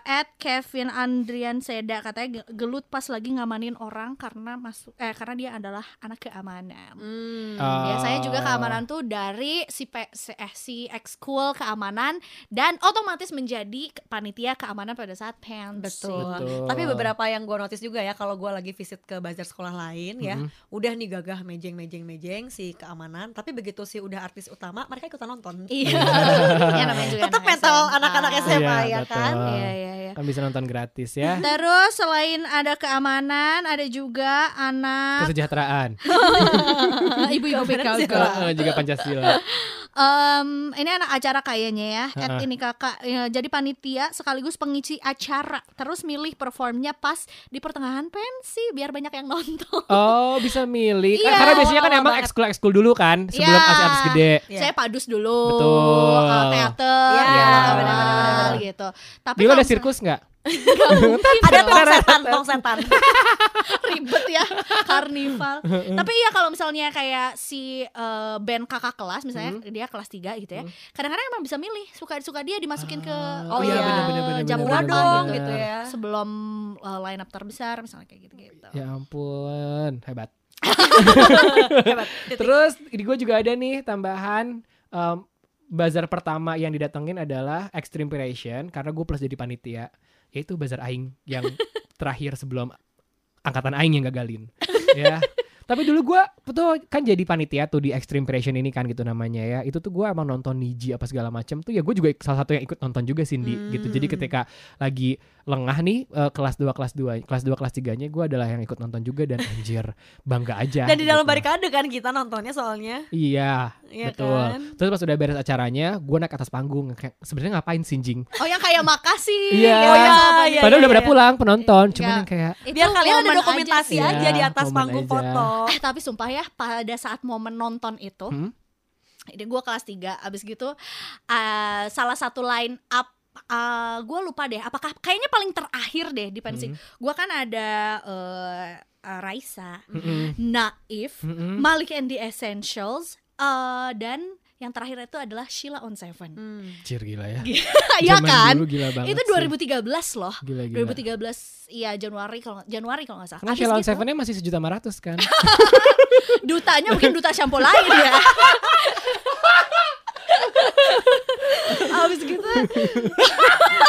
[SPEAKER 4] at Kevin Andrian Seda katanya ge- gelut pas lagi ngamanin orang karena masuk eh karena dia adalah anak keamanan.
[SPEAKER 2] Hmm.
[SPEAKER 3] Ah.
[SPEAKER 4] Biasanya juga keamanan tuh dari si pe- si- eh, si ekskul keamanan dan otomatis menjadi ke- panitia keamanan pada saat pensi.
[SPEAKER 2] Betul.
[SPEAKER 3] Betul.
[SPEAKER 2] Tapi beberapa yang gue notice juga ya kalau gue lagi visit ke bazar sekolah lain ya, udah nih gagah mejeng mejeng mejeng si keamanan. Tapi begitu sih udah artis utama, mereka ikutan nonton.
[SPEAKER 4] Iya. Ya, namanya juga
[SPEAKER 2] Tetap
[SPEAKER 4] anak
[SPEAKER 2] mental
[SPEAKER 4] SMA.
[SPEAKER 2] anak-anak SMA
[SPEAKER 3] Iya,
[SPEAKER 2] ya kan.
[SPEAKER 3] betul.
[SPEAKER 4] Iya, iya, iya.
[SPEAKER 3] Kan bisa nonton gratis ya.
[SPEAKER 4] Terus selain ada keamanan, ada juga anak
[SPEAKER 3] Kesejahteraan.
[SPEAKER 4] ibu-ibu
[SPEAKER 2] Keamanan
[SPEAKER 4] PKK.
[SPEAKER 3] Eh, juga Pancasila.
[SPEAKER 4] Em, ini anak acara kayaknya ya. At
[SPEAKER 3] Ha-ha.
[SPEAKER 4] ini kakak ya, jadi panitia sekaligus pengisi acara. Terus milih performnya pas di pertengahan pensi biar banyak yang nonton.
[SPEAKER 3] Oh bisa milih Kan-
[SPEAKER 4] Iya,
[SPEAKER 3] Karena biasanya kan
[SPEAKER 4] awal-awal
[SPEAKER 3] emang
[SPEAKER 4] banget.
[SPEAKER 3] ekskul-ekskul dulu kan Sebelum
[SPEAKER 4] Iya.
[SPEAKER 3] artis-artis gede
[SPEAKER 2] Iya.
[SPEAKER 4] Saya padus dulu,
[SPEAKER 3] Betul.
[SPEAKER 4] eh, teater,
[SPEAKER 2] Iya,
[SPEAKER 4] ya,
[SPEAKER 3] benar, benar, benar.
[SPEAKER 4] gitu. Tapi
[SPEAKER 3] Di lo ada
[SPEAKER 4] kalau
[SPEAKER 3] sirkus nggak?
[SPEAKER 2] Ada tong setan, tong setan.
[SPEAKER 4] ribet ya karnival. Tapi iya kalau misalnya kayak si eh, band kakak kelas misalnya
[SPEAKER 3] Hmm.
[SPEAKER 4] dia kelas 3 gitu ya. Kadang-kadang emang bisa milih suka-suka dia dimasukin ke
[SPEAKER 3] Oh iya,
[SPEAKER 4] eh,
[SPEAKER 3] benar, benar, benar,
[SPEAKER 4] jam
[SPEAKER 3] benar,
[SPEAKER 2] Murah
[SPEAKER 4] dong
[SPEAKER 3] benar,
[SPEAKER 2] dong
[SPEAKER 3] benar.
[SPEAKER 2] gitu ya.
[SPEAKER 4] sebelum eh, line up terbesar misalnya kayak gitu-gitu.
[SPEAKER 3] Ya ampun Hebat Terus di gue juga ada nih tambahan em, Bazar pertama yang didatengin adalah Extreme Creation Karena gue plus jadi panitia Yaitu bazar Aing Yang terakhir sebelum Angkatan Aing yang gagalin Ya tapi dulu gue tuh kan jadi panitia tuh di Extreme Creation ini kan gitu namanya ya Itu tuh gue emang nonton Niji apa segala macem tuh ya gue juga ik- salah satu yang ikut nonton juga Cindy gitu Jadi
[SPEAKER 2] Hmm.
[SPEAKER 3] ketika lagi lengah nih eh, kelas 2 kelas 2 Kelas 2 kelas 3 nya gue adalah yang ikut nonton juga dan anjir bangga aja
[SPEAKER 2] Dan di dalam
[SPEAKER 3] gitu.
[SPEAKER 2] barikade kan kita nontonnya soalnya,
[SPEAKER 3] Iya,
[SPEAKER 2] Iya
[SPEAKER 3] betul.
[SPEAKER 2] kan?
[SPEAKER 3] Terus pas udah beres acaranya, gue naik atas panggung. Kayak, Sebenarnya ngapain sinjing?
[SPEAKER 4] Oh yang kayak makasih.
[SPEAKER 3] Iya.
[SPEAKER 4] yang
[SPEAKER 3] Oh, iya,
[SPEAKER 4] sama Bang
[SPEAKER 2] iya,
[SPEAKER 4] Dani.
[SPEAKER 3] Padahal udah pada
[SPEAKER 2] iya.
[SPEAKER 3] pulang penonton, cuman
[SPEAKER 4] Iya.
[SPEAKER 3] yang kayak
[SPEAKER 4] Itu
[SPEAKER 2] Biar kalian ada
[SPEAKER 4] momen
[SPEAKER 2] dokumentasi
[SPEAKER 4] aja sih.
[SPEAKER 2] aja,
[SPEAKER 3] Iya,
[SPEAKER 2] di atas
[SPEAKER 3] momen
[SPEAKER 2] panggung
[SPEAKER 3] aja.
[SPEAKER 2] foto.
[SPEAKER 4] Eh tapi sumpah ya pada saat momen nonton itu
[SPEAKER 3] Hmm?
[SPEAKER 4] Ini gue kelas 3 Abis gitu eh, Salah satu line up eh, Gue lupa deh Apakah Kayaknya paling terakhir deh di pensi
[SPEAKER 3] Mhm.
[SPEAKER 4] Gue kan ada eh, eh, Raisa
[SPEAKER 3] Mm-mm.
[SPEAKER 4] Naif
[SPEAKER 3] Mm-mm.
[SPEAKER 4] Malik and the Essentials eh, Dan yang terakhir itu adalah Sheila on Seven
[SPEAKER 2] Hmm.
[SPEAKER 3] Anjir, gila ya.
[SPEAKER 4] Iya
[SPEAKER 3] Zaman
[SPEAKER 4] kan
[SPEAKER 3] Dulu gila banget.
[SPEAKER 4] Itu
[SPEAKER 3] sih.
[SPEAKER 4] 2013 loh
[SPEAKER 3] Gila gila.
[SPEAKER 4] 2013 Iya Januari kalau Januari kalau nggak salah
[SPEAKER 3] Karena
[SPEAKER 4] Abis
[SPEAKER 3] Sheila on
[SPEAKER 4] gitu,
[SPEAKER 3] Seven-nya masih sejuta lima ratus kan?
[SPEAKER 4] Dutanya mungkin duta shampoo lain ya Abis gitu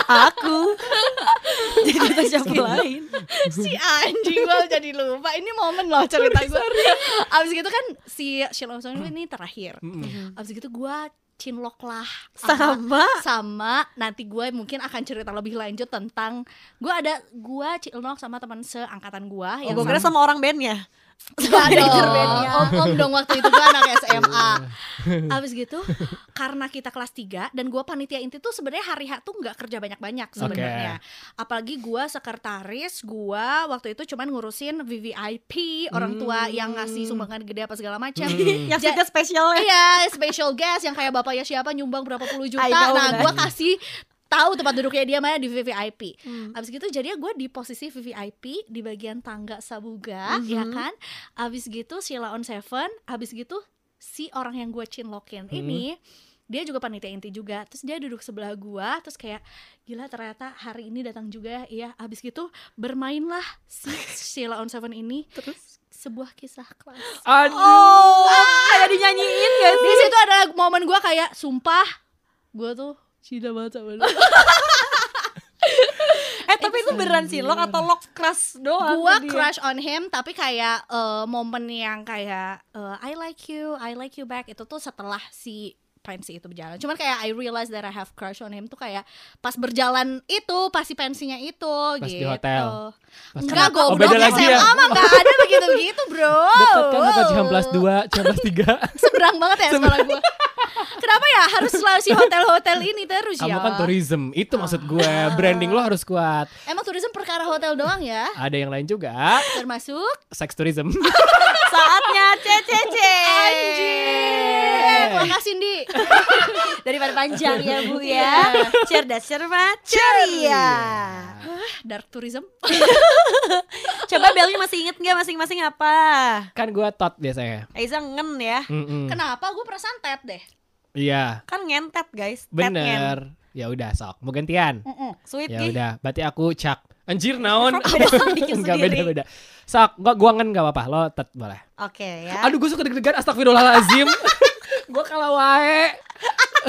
[SPEAKER 2] Aku jadi kita siapa
[SPEAKER 4] gitu.
[SPEAKER 2] lain.
[SPEAKER 4] si anjing gue jadi lupa ini momen loh
[SPEAKER 3] Hmm.
[SPEAKER 4] cerita gue abis gitu kan si Sheila on Seven ini terakhir
[SPEAKER 3] Mm-mm.
[SPEAKER 4] abis gitu gue cinlok lah
[SPEAKER 2] Sama.
[SPEAKER 4] sama nanti gue mungkin akan cerita lebih lanjut tentang gue ada gue cinlok sama teman seangkatan gue
[SPEAKER 2] Oh, gue kira sama orang bandnya.
[SPEAKER 4] Gak
[SPEAKER 2] Manajer
[SPEAKER 4] dong.
[SPEAKER 2] bandnya.
[SPEAKER 4] Om om dong waktu itu gue anak SMA. Abis gitu karena kita kelas 3 dan gue panitia inti tuh sebenarnya hari H tuh nggak kerja banyak-banyak sebenarnya. Apalagi gue sekretaris, gue waktu itu cuman ngurusin VVIP, orang tua yang ngasih sumbangan gede apa segala macam.
[SPEAKER 2] Yang
[SPEAKER 4] Ja-
[SPEAKER 2] sudah spesial ya.
[SPEAKER 4] Iya, special guest yang kayak bapaknya siapa nyumbang berapa puluh juta.
[SPEAKER 2] I know,
[SPEAKER 4] nah,
[SPEAKER 2] benar.
[SPEAKER 4] gue kasih tahu tempat duduknya dia mana di VVIP. Abis gitu jadinya gue di posisi VVIP di bagian tangga
[SPEAKER 2] Mhm.
[SPEAKER 4] Sabuga, ya kan? Abis gitu Sheila on Seven, abis gitu si orang yang gue cinlokin
[SPEAKER 2] Mhm.
[SPEAKER 4] ini dia juga panitia inti juga terus dia duduk sebelah gua terus kayak gila ternyata hari ini datang juga ya abis gitu bermainlah si Sheila on Seven ini terus sebuah kisah klasik
[SPEAKER 3] Aduh.
[SPEAKER 2] Oh, Kayak dinyanyiin ya.
[SPEAKER 4] di situ ada momen gue kayak sumpah gue tuh cinta banget sama lu
[SPEAKER 2] Eh tapi itu beneran silok atau lock crush doang?
[SPEAKER 4] gue
[SPEAKER 2] ke Oh, dia?
[SPEAKER 4] crush on him tapi kayak eh, momen yang kayak eh, I like you I like you back itu tuh setelah si pensi itu berjalan cuman kayak I realize that I have crush on him tuh kayak pas berjalan itu pas si pensinya itu
[SPEAKER 3] Pas di
[SPEAKER 4] gitu
[SPEAKER 3] hotel. Pas
[SPEAKER 4] enggak Oh.
[SPEAKER 3] di- Oh,
[SPEAKER 4] goblok
[SPEAKER 3] beda lagi
[SPEAKER 4] SMA
[SPEAKER 3] ya.
[SPEAKER 4] mah enggak ada begitu begitu bro
[SPEAKER 3] Dekat kan atau Cihamplas 2, Cihamplas 3
[SPEAKER 4] seberang banget ya sekolah gue kenapa ya harus selalu si hotel-hotel ini terus ya
[SPEAKER 3] Kamu kan tourism, itu maksud gue Branding lo harus kuat
[SPEAKER 4] Emang tourism perkara hotel doang ya?
[SPEAKER 3] Ada yang lain juga
[SPEAKER 4] Termasuk
[SPEAKER 3] Sex tourism
[SPEAKER 2] Saatnya CCC.
[SPEAKER 4] Anjir Eh, Makasih Ah, Di
[SPEAKER 2] Daripada panjang ya Bu ya. Cerdas cermat ceria.
[SPEAKER 4] Dark tourism
[SPEAKER 2] Coba Belnya masih inget nggak masing-masing apa?
[SPEAKER 3] Kan gue tot biasanya
[SPEAKER 2] Aiza ngen ya.
[SPEAKER 3] Mm-mm.
[SPEAKER 4] Kenapa gue perasaan tet deh
[SPEAKER 3] Iya
[SPEAKER 2] Kan ngentet guys. Tet ngen.
[SPEAKER 3] Bener Ya udah sok Mau gantian
[SPEAKER 2] Sweet
[SPEAKER 3] Ya
[SPEAKER 2] Gi.
[SPEAKER 3] udah Berarti aku cak Anjir naon
[SPEAKER 2] Beda sedikit
[SPEAKER 3] Enggak
[SPEAKER 2] gitu sendiri.
[SPEAKER 3] beda-beda Sok Gua, gua ngen gak apa-apa Lo tet boleh
[SPEAKER 2] Oke ya.
[SPEAKER 3] Aduh gue suka deg-degan Astagfirullahalazim Gue kalah wae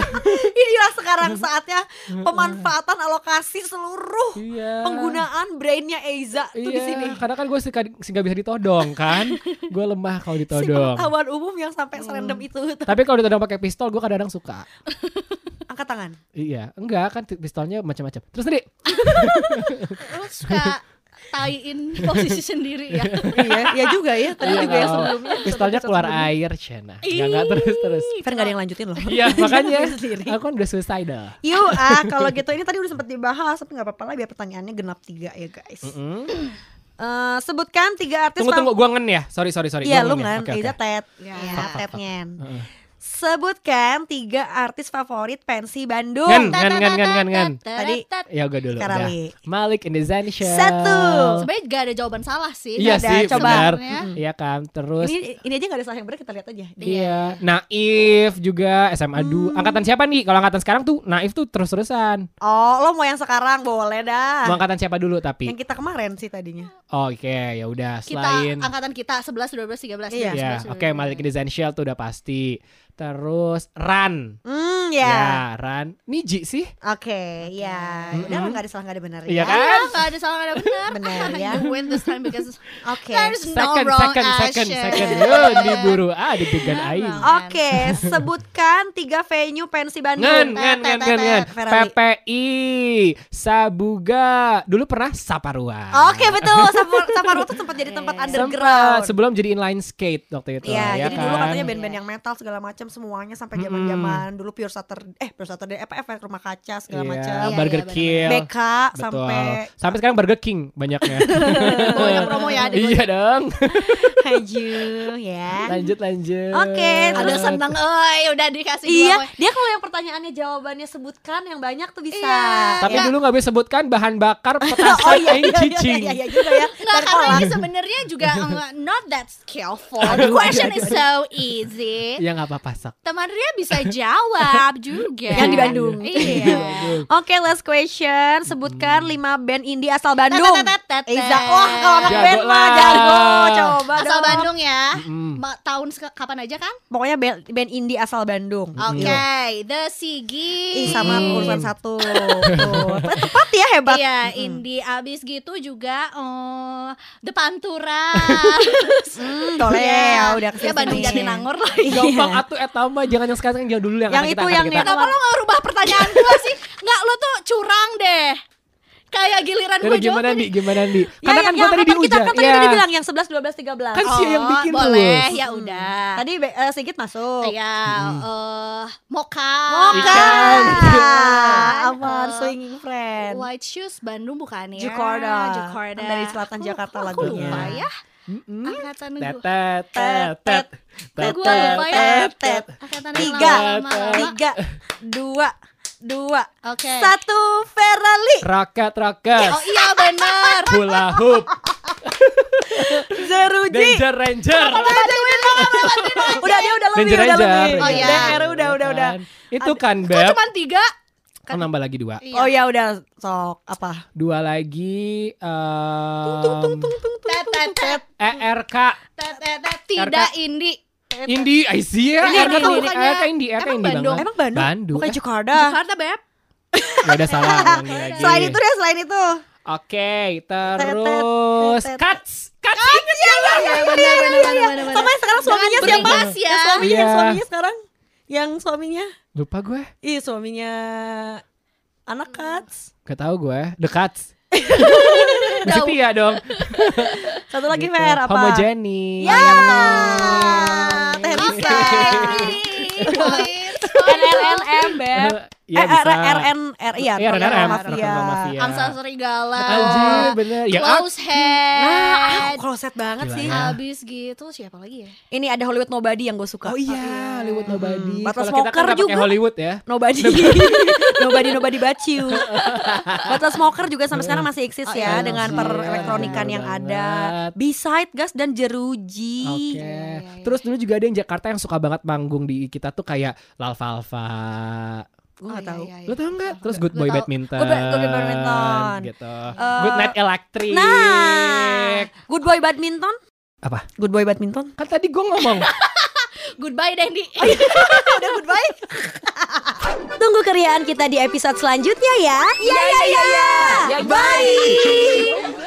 [SPEAKER 2] Inilah sekarang saatnya pemanfaatan alokasi seluruh
[SPEAKER 3] Iya
[SPEAKER 2] penggunaan brainnya Eiza tuh di sini.
[SPEAKER 3] Iya, karena kan gue sih nggak bisa ditodong kan, gue lemah kalau
[SPEAKER 2] Si
[SPEAKER 3] ditodong.
[SPEAKER 2] pengetahuan umum yang sampai serendam itu.
[SPEAKER 3] Tapi kalau ditodong pakai pistol, gue kadang-kadang suka.
[SPEAKER 2] Angkat tangan.
[SPEAKER 3] Iya, enggak kan pistolnya macam-macam. Terus tadi,
[SPEAKER 4] Lu suka taiin posisi sendiri ya
[SPEAKER 2] Iya, iya juga ya. Tadi
[SPEAKER 3] Iya,
[SPEAKER 2] juga ya
[SPEAKER 3] kalau
[SPEAKER 2] sebelumnya.
[SPEAKER 3] pistolnya
[SPEAKER 2] episode
[SPEAKER 3] keluar
[SPEAKER 2] sebelumnya.
[SPEAKER 3] air, Cena. Enggak, enggak terus terus.
[SPEAKER 2] Fer gak ada yang lanjutin loh.
[SPEAKER 3] Iya, makanya
[SPEAKER 2] Dia sendiri.
[SPEAKER 3] aku kan udah suicidal.
[SPEAKER 2] Yuk ah kalau gitu ini tadi udah sempat dibahas tapi nggak apa-apa lah biar pertanyaannya genap tiga ya guys.
[SPEAKER 3] Mm.
[SPEAKER 2] Eh, sebutkan tiga artis
[SPEAKER 3] Tunggu tunggu, gue ngen ya. Sorry sorry sorry.
[SPEAKER 2] Iya
[SPEAKER 3] gua
[SPEAKER 2] lu
[SPEAKER 3] ngen ya.
[SPEAKER 2] kan,
[SPEAKER 3] Oke,
[SPEAKER 2] Eiza
[SPEAKER 3] oke.
[SPEAKER 2] Ted,
[SPEAKER 4] Ya.
[SPEAKER 2] ya
[SPEAKER 4] Fuck,
[SPEAKER 2] Ted Ngen.
[SPEAKER 3] Heeh.
[SPEAKER 2] Sebutkan tiga artis favorit pensi
[SPEAKER 3] Ngen.
[SPEAKER 2] Bandung. Tadi
[SPEAKER 3] Ya gue dulu.
[SPEAKER 2] Sekarang,
[SPEAKER 3] udah.
[SPEAKER 2] Wi.
[SPEAKER 3] Malik in the Zen Show. Mm.
[SPEAKER 2] Satu.
[SPEAKER 4] Sebenernya gak ada jawaban salah sih
[SPEAKER 3] Iya
[SPEAKER 2] Ada,
[SPEAKER 3] sih,
[SPEAKER 2] coba. Mm.
[SPEAKER 3] benar.
[SPEAKER 4] Sebenarnya.
[SPEAKER 3] Iya kan, terus
[SPEAKER 2] Ini ini aja gak ada salah yang benar kita lihat aja.
[SPEAKER 3] Iya, Naif juga SMA 2.
[SPEAKER 2] Hmm.
[SPEAKER 3] Angkatan siapa nih? Kalau angkatan sekarang tuh Naif tuh terus-terusan.
[SPEAKER 2] Oh lo mau yang sekarang boleh
[SPEAKER 3] Mau
[SPEAKER 2] dah.
[SPEAKER 3] angkatan siapa dulu tapi?
[SPEAKER 2] Yang kita kemarin sih tadinya.
[SPEAKER 3] Oke, ya udah
[SPEAKER 4] Kita ya,
[SPEAKER 3] selain
[SPEAKER 4] angkatan kita 11, 12, 13
[SPEAKER 2] Iya.
[SPEAKER 3] ya, oke Malik Design Shell tuh udah pasti. Terus Ran.
[SPEAKER 2] Hmm ya.
[SPEAKER 3] Ya, Ran. Niji sih.
[SPEAKER 2] Oke ya. Udah lah nggak ada salah nggak ada benar
[SPEAKER 3] Iya
[SPEAKER 2] ya.
[SPEAKER 3] kan?
[SPEAKER 4] Kan? Gak ada salah, gak ada benar
[SPEAKER 2] Benar, ya.
[SPEAKER 4] You win this time because
[SPEAKER 2] Oke.
[SPEAKER 4] There's no
[SPEAKER 3] Second,
[SPEAKER 4] wrong
[SPEAKER 3] second, second,
[SPEAKER 4] action.
[SPEAKER 3] second. Yo, diburu. Ah, deg-degan aing.
[SPEAKER 4] Wrong.
[SPEAKER 2] Oke, sebutkan tiga venue pensi
[SPEAKER 3] Ngen,
[SPEAKER 2] Bandung.
[SPEAKER 3] ngen, ngen, ngen, ngen.
[SPEAKER 2] Ferrari.
[SPEAKER 3] PPI, Sabuga. Dulu pernah Saparua.
[SPEAKER 2] Oke betul, Sapar Saparua tuh sempat jadi tempat
[SPEAKER 3] Sempat
[SPEAKER 2] underground.
[SPEAKER 3] sebelum jadi inline skate waktu itu.
[SPEAKER 2] Iya,
[SPEAKER 3] ya
[SPEAKER 2] jadi
[SPEAKER 3] kan?
[SPEAKER 2] dulu katanya band-band yang metal segala macam semuanya sampai zaman-zaman dulu Pure Saturday, eh Pure Saturday apa efek rumah kaca segala
[SPEAKER 3] Iya,
[SPEAKER 2] macam.
[SPEAKER 4] Iya,
[SPEAKER 3] Burger
[SPEAKER 4] iya,
[SPEAKER 3] Kill.
[SPEAKER 2] BK
[SPEAKER 3] Betul.
[SPEAKER 2] sampai
[SPEAKER 3] sampai sekarang Burger King banyaknya.
[SPEAKER 4] Banyak promo ya, adik
[SPEAKER 3] iya dong.
[SPEAKER 2] Kan? Haju ya.
[SPEAKER 3] Lanjut lanjut.
[SPEAKER 2] Oke,
[SPEAKER 4] Ada seneng, oi udah dikasih dua
[SPEAKER 2] Iya,
[SPEAKER 4] poin.
[SPEAKER 2] dia kalau yang pertanyaannya jawabannya sebutkan yang banyak tuh bisa.
[SPEAKER 4] Iya.
[SPEAKER 3] Tapi
[SPEAKER 4] Enggak.
[SPEAKER 3] dulu nggak bisa sebutkan bahan bakar petasan
[SPEAKER 2] ya. oh iya
[SPEAKER 3] aing
[SPEAKER 2] iya iya,
[SPEAKER 3] cicing.
[SPEAKER 2] iya, iya juga ya.
[SPEAKER 4] Nggak,
[SPEAKER 2] Ntar
[SPEAKER 4] karena
[SPEAKER 2] kolak.
[SPEAKER 4] ini sebenarnya juga uh, not that skillful. The question is so
[SPEAKER 2] iya.
[SPEAKER 4] easy.
[SPEAKER 3] Ya nggak apa-apa sak.
[SPEAKER 4] Teman Ria bisa jawab juga.
[SPEAKER 2] Yang di Bandung.
[SPEAKER 4] Iya.
[SPEAKER 2] Oke, last question. Sebutkan
[SPEAKER 3] Hmm.
[SPEAKER 2] 5 band indie asal Bandung.
[SPEAKER 4] Tetetetetet.
[SPEAKER 2] Eiza, wah kalau anak
[SPEAKER 3] Jago
[SPEAKER 2] band mah
[SPEAKER 3] lah.
[SPEAKER 2] jago. Coba
[SPEAKER 4] Asal
[SPEAKER 2] dong.
[SPEAKER 4] Bandung ya.
[SPEAKER 3] Mm-mm.
[SPEAKER 4] Ma- Tahun seka- kapan aja kan?
[SPEAKER 2] Pokoknya band, band indie asal Bandung.
[SPEAKER 4] Oke,
[SPEAKER 2] Yuk.
[SPEAKER 4] The
[SPEAKER 2] Ih,
[SPEAKER 4] Sigi.
[SPEAKER 2] sama urusan satu. Tuh. Tepat ya hebat.
[SPEAKER 4] Iya, Indi abis gitu juga oh, The Pantura.
[SPEAKER 2] Hmm, Toleh,
[SPEAKER 4] Iya.
[SPEAKER 2] udah
[SPEAKER 4] Ya
[SPEAKER 2] kesini.
[SPEAKER 4] Iya, Bandung Jatinangor lah.
[SPEAKER 3] Iya. Gampang atuh eh tambah jangan yang sekarang yang dulu
[SPEAKER 2] Iya.
[SPEAKER 3] yang
[SPEAKER 2] Yang itu
[SPEAKER 3] anak kita
[SPEAKER 2] panjang
[SPEAKER 3] kita.
[SPEAKER 2] ya
[SPEAKER 4] Kenapa lo gak rubah pertanyaan gue sih? Nggak, lo tuh curang deh. Kayak giliran
[SPEAKER 2] Kan
[SPEAKER 3] Yaudah,
[SPEAKER 4] gue jawab
[SPEAKER 3] gimana
[SPEAKER 4] tadi.
[SPEAKER 3] Di? Gimana Di?
[SPEAKER 2] Ya, yang-
[SPEAKER 3] Karena kan gue
[SPEAKER 2] yang
[SPEAKER 3] tadi Iya.
[SPEAKER 2] angkatan kita
[SPEAKER 3] diujar.
[SPEAKER 2] kan tadi udah bilang yang 11 12 13.
[SPEAKER 3] Kan sih yang bikin
[SPEAKER 4] boleh,
[SPEAKER 3] rules.
[SPEAKER 4] ya udah.
[SPEAKER 2] Tadi be- eh, Sigit masuk.
[SPEAKER 3] Iya,
[SPEAKER 4] ya eh, moka.
[SPEAKER 2] Ikan. Iya. Aman,
[SPEAKER 4] Eh,
[SPEAKER 2] swinging friend.
[SPEAKER 4] White Shoes Bandung bukan ya?
[SPEAKER 2] Jakarta. Kan
[SPEAKER 4] Jakarta.
[SPEAKER 2] Dari selatan Jakarta
[SPEAKER 4] aku, aku lupa
[SPEAKER 2] lagunya.
[SPEAKER 4] ya.
[SPEAKER 3] Mm-mm.
[SPEAKER 4] Angkatan
[SPEAKER 3] Tet
[SPEAKER 4] gue.
[SPEAKER 3] tet tet tet tet
[SPEAKER 4] Gue
[SPEAKER 3] tet
[SPEAKER 4] lupa ya.
[SPEAKER 3] tet tet.
[SPEAKER 4] Angkatan yang
[SPEAKER 2] Tiga,
[SPEAKER 4] lama-lama.
[SPEAKER 2] tiga, dua, dua,
[SPEAKER 4] Oke.
[SPEAKER 2] satu. Ferali,
[SPEAKER 3] Raket raket.
[SPEAKER 4] Oh iya benar.
[SPEAKER 3] Hula hoop.
[SPEAKER 2] Zeruji.
[SPEAKER 3] Danger ranger.
[SPEAKER 2] Udah dia udah lebih,
[SPEAKER 3] Danger
[SPEAKER 2] udah
[SPEAKER 3] Ranger. kan?
[SPEAKER 2] lebih.
[SPEAKER 4] Oh, iya.
[SPEAKER 2] DR udah udah udah.
[SPEAKER 3] Itu kan
[SPEAKER 4] Kok
[SPEAKER 3] Beb.
[SPEAKER 4] cuma tiga? Iya.
[SPEAKER 3] Oh nambah lagi dua.
[SPEAKER 2] Oh ya udah sok apa?
[SPEAKER 3] Dua lagi. em,
[SPEAKER 4] Tet, tet, tet,
[SPEAKER 3] eh, ERK.
[SPEAKER 2] E
[SPEAKER 4] tet, tet, tet. Tidak Indi.
[SPEAKER 3] Indie, I see ya.
[SPEAKER 4] Ini
[SPEAKER 3] ERK
[SPEAKER 4] Indie,
[SPEAKER 3] Indie,
[SPEAKER 4] bukannya-
[SPEAKER 3] ERK Indie, ERK
[SPEAKER 4] emang
[SPEAKER 3] Indie
[SPEAKER 4] Bandung?
[SPEAKER 3] banget.
[SPEAKER 2] Emang Bandung?
[SPEAKER 3] Bandung.
[SPEAKER 2] Bukan
[SPEAKER 3] Eh,
[SPEAKER 2] Jakarta.
[SPEAKER 4] Jakarta Beb.
[SPEAKER 3] Gak ada salah. ulangi lagi.
[SPEAKER 2] Selain itu deh, selain itu.
[SPEAKER 3] Oke, terus
[SPEAKER 2] Tet, tet, tet, tet.
[SPEAKER 3] cuts, cuts.
[SPEAKER 2] Ah,
[SPEAKER 4] Iya, benar, benar, benar, benar, benar.
[SPEAKER 2] Sampai sekarang suaminya
[SPEAKER 4] Jangan
[SPEAKER 2] siapa?
[SPEAKER 4] beringas ya.
[SPEAKER 2] Yang suaminya, yang
[SPEAKER 3] Iya.
[SPEAKER 2] suaminya sekarang. Yang suaminya.
[SPEAKER 3] Lupa gue.
[SPEAKER 2] Ih, suaminya anak Kats.
[SPEAKER 3] Gak tau gue. The cuts. Mesti ya dong.
[SPEAKER 2] Satu lagi Fer apa?
[SPEAKER 3] Homogeni.
[SPEAKER 2] Ya. Teh Risa. LLM Beb. eh,
[SPEAKER 3] Ya bisa.
[SPEAKER 2] RN iya,
[SPEAKER 3] Iya,
[SPEAKER 2] program
[SPEAKER 3] RNRM,
[SPEAKER 2] Mafia.
[SPEAKER 3] program Mafia.
[SPEAKER 4] Angsa serigala.
[SPEAKER 3] Ya. Anjir, bener. Ya, ah,
[SPEAKER 4] Close
[SPEAKER 2] Nah,
[SPEAKER 4] head.
[SPEAKER 2] aku kloset banget
[SPEAKER 3] Gila
[SPEAKER 2] sih.
[SPEAKER 3] ya.
[SPEAKER 4] Abis gitu siapa lagi ya?
[SPEAKER 2] Ini ada Hollywood Nobody yang gue suka.
[SPEAKER 3] Oh iya, Hollywood Nobody.
[SPEAKER 2] Hmm, Butler
[SPEAKER 3] Kalau kita kan
[SPEAKER 2] Smoker
[SPEAKER 3] nggak pakai
[SPEAKER 2] juga.
[SPEAKER 3] Hollywood ya.
[SPEAKER 2] Nobody Nobody Nobody Baciu Bottle Smoker juga sampai sekarang masih eksis ya
[SPEAKER 3] Iya,
[SPEAKER 2] Dengan
[SPEAKER 3] iya,
[SPEAKER 2] per elektronikan
[SPEAKER 3] bener
[SPEAKER 2] yang ada
[SPEAKER 3] banget.
[SPEAKER 2] Beside Gas dan Jeruji
[SPEAKER 3] Oke.
[SPEAKER 4] iya, iya.
[SPEAKER 3] Terus dulu juga ada yang Jakarta yang suka banget manggung di kita tuh kayak Lalfalfa.
[SPEAKER 2] Gue gak
[SPEAKER 4] Oh, iya,
[SPEAKER 2] tau
[SPEAKER 4] iya, iya.
[SPEAKER 3] Lo tau nggak? Terus Good
[SPEAKER 4] Gua
[SPEAKER 3] Boy
[SPEAKER 4] tau.
[SPEAKER 3] Badminton.
[SPEAKER 2] Good Boy- Good Boy Badminton.
[SPEAKER 3] Gitu.
[SPEAKER 2] Eh,
[SPEAKER 3] Good Night Electric.
[SPEAKER 2] Nah Good Boy Badminton
[SPEAKER 3] Apa?
[SPEAKER 2] Good Boy Badminton
[SPEAKER 3] Kan tadi gue ngomong.
[SPEAKER 4] Goodbye Dendi.
[SPEAKER 2] Udah good bye Tunggu keriaan kita di episode selanjutnya ya Ya ya ya, ya. Iya, Bye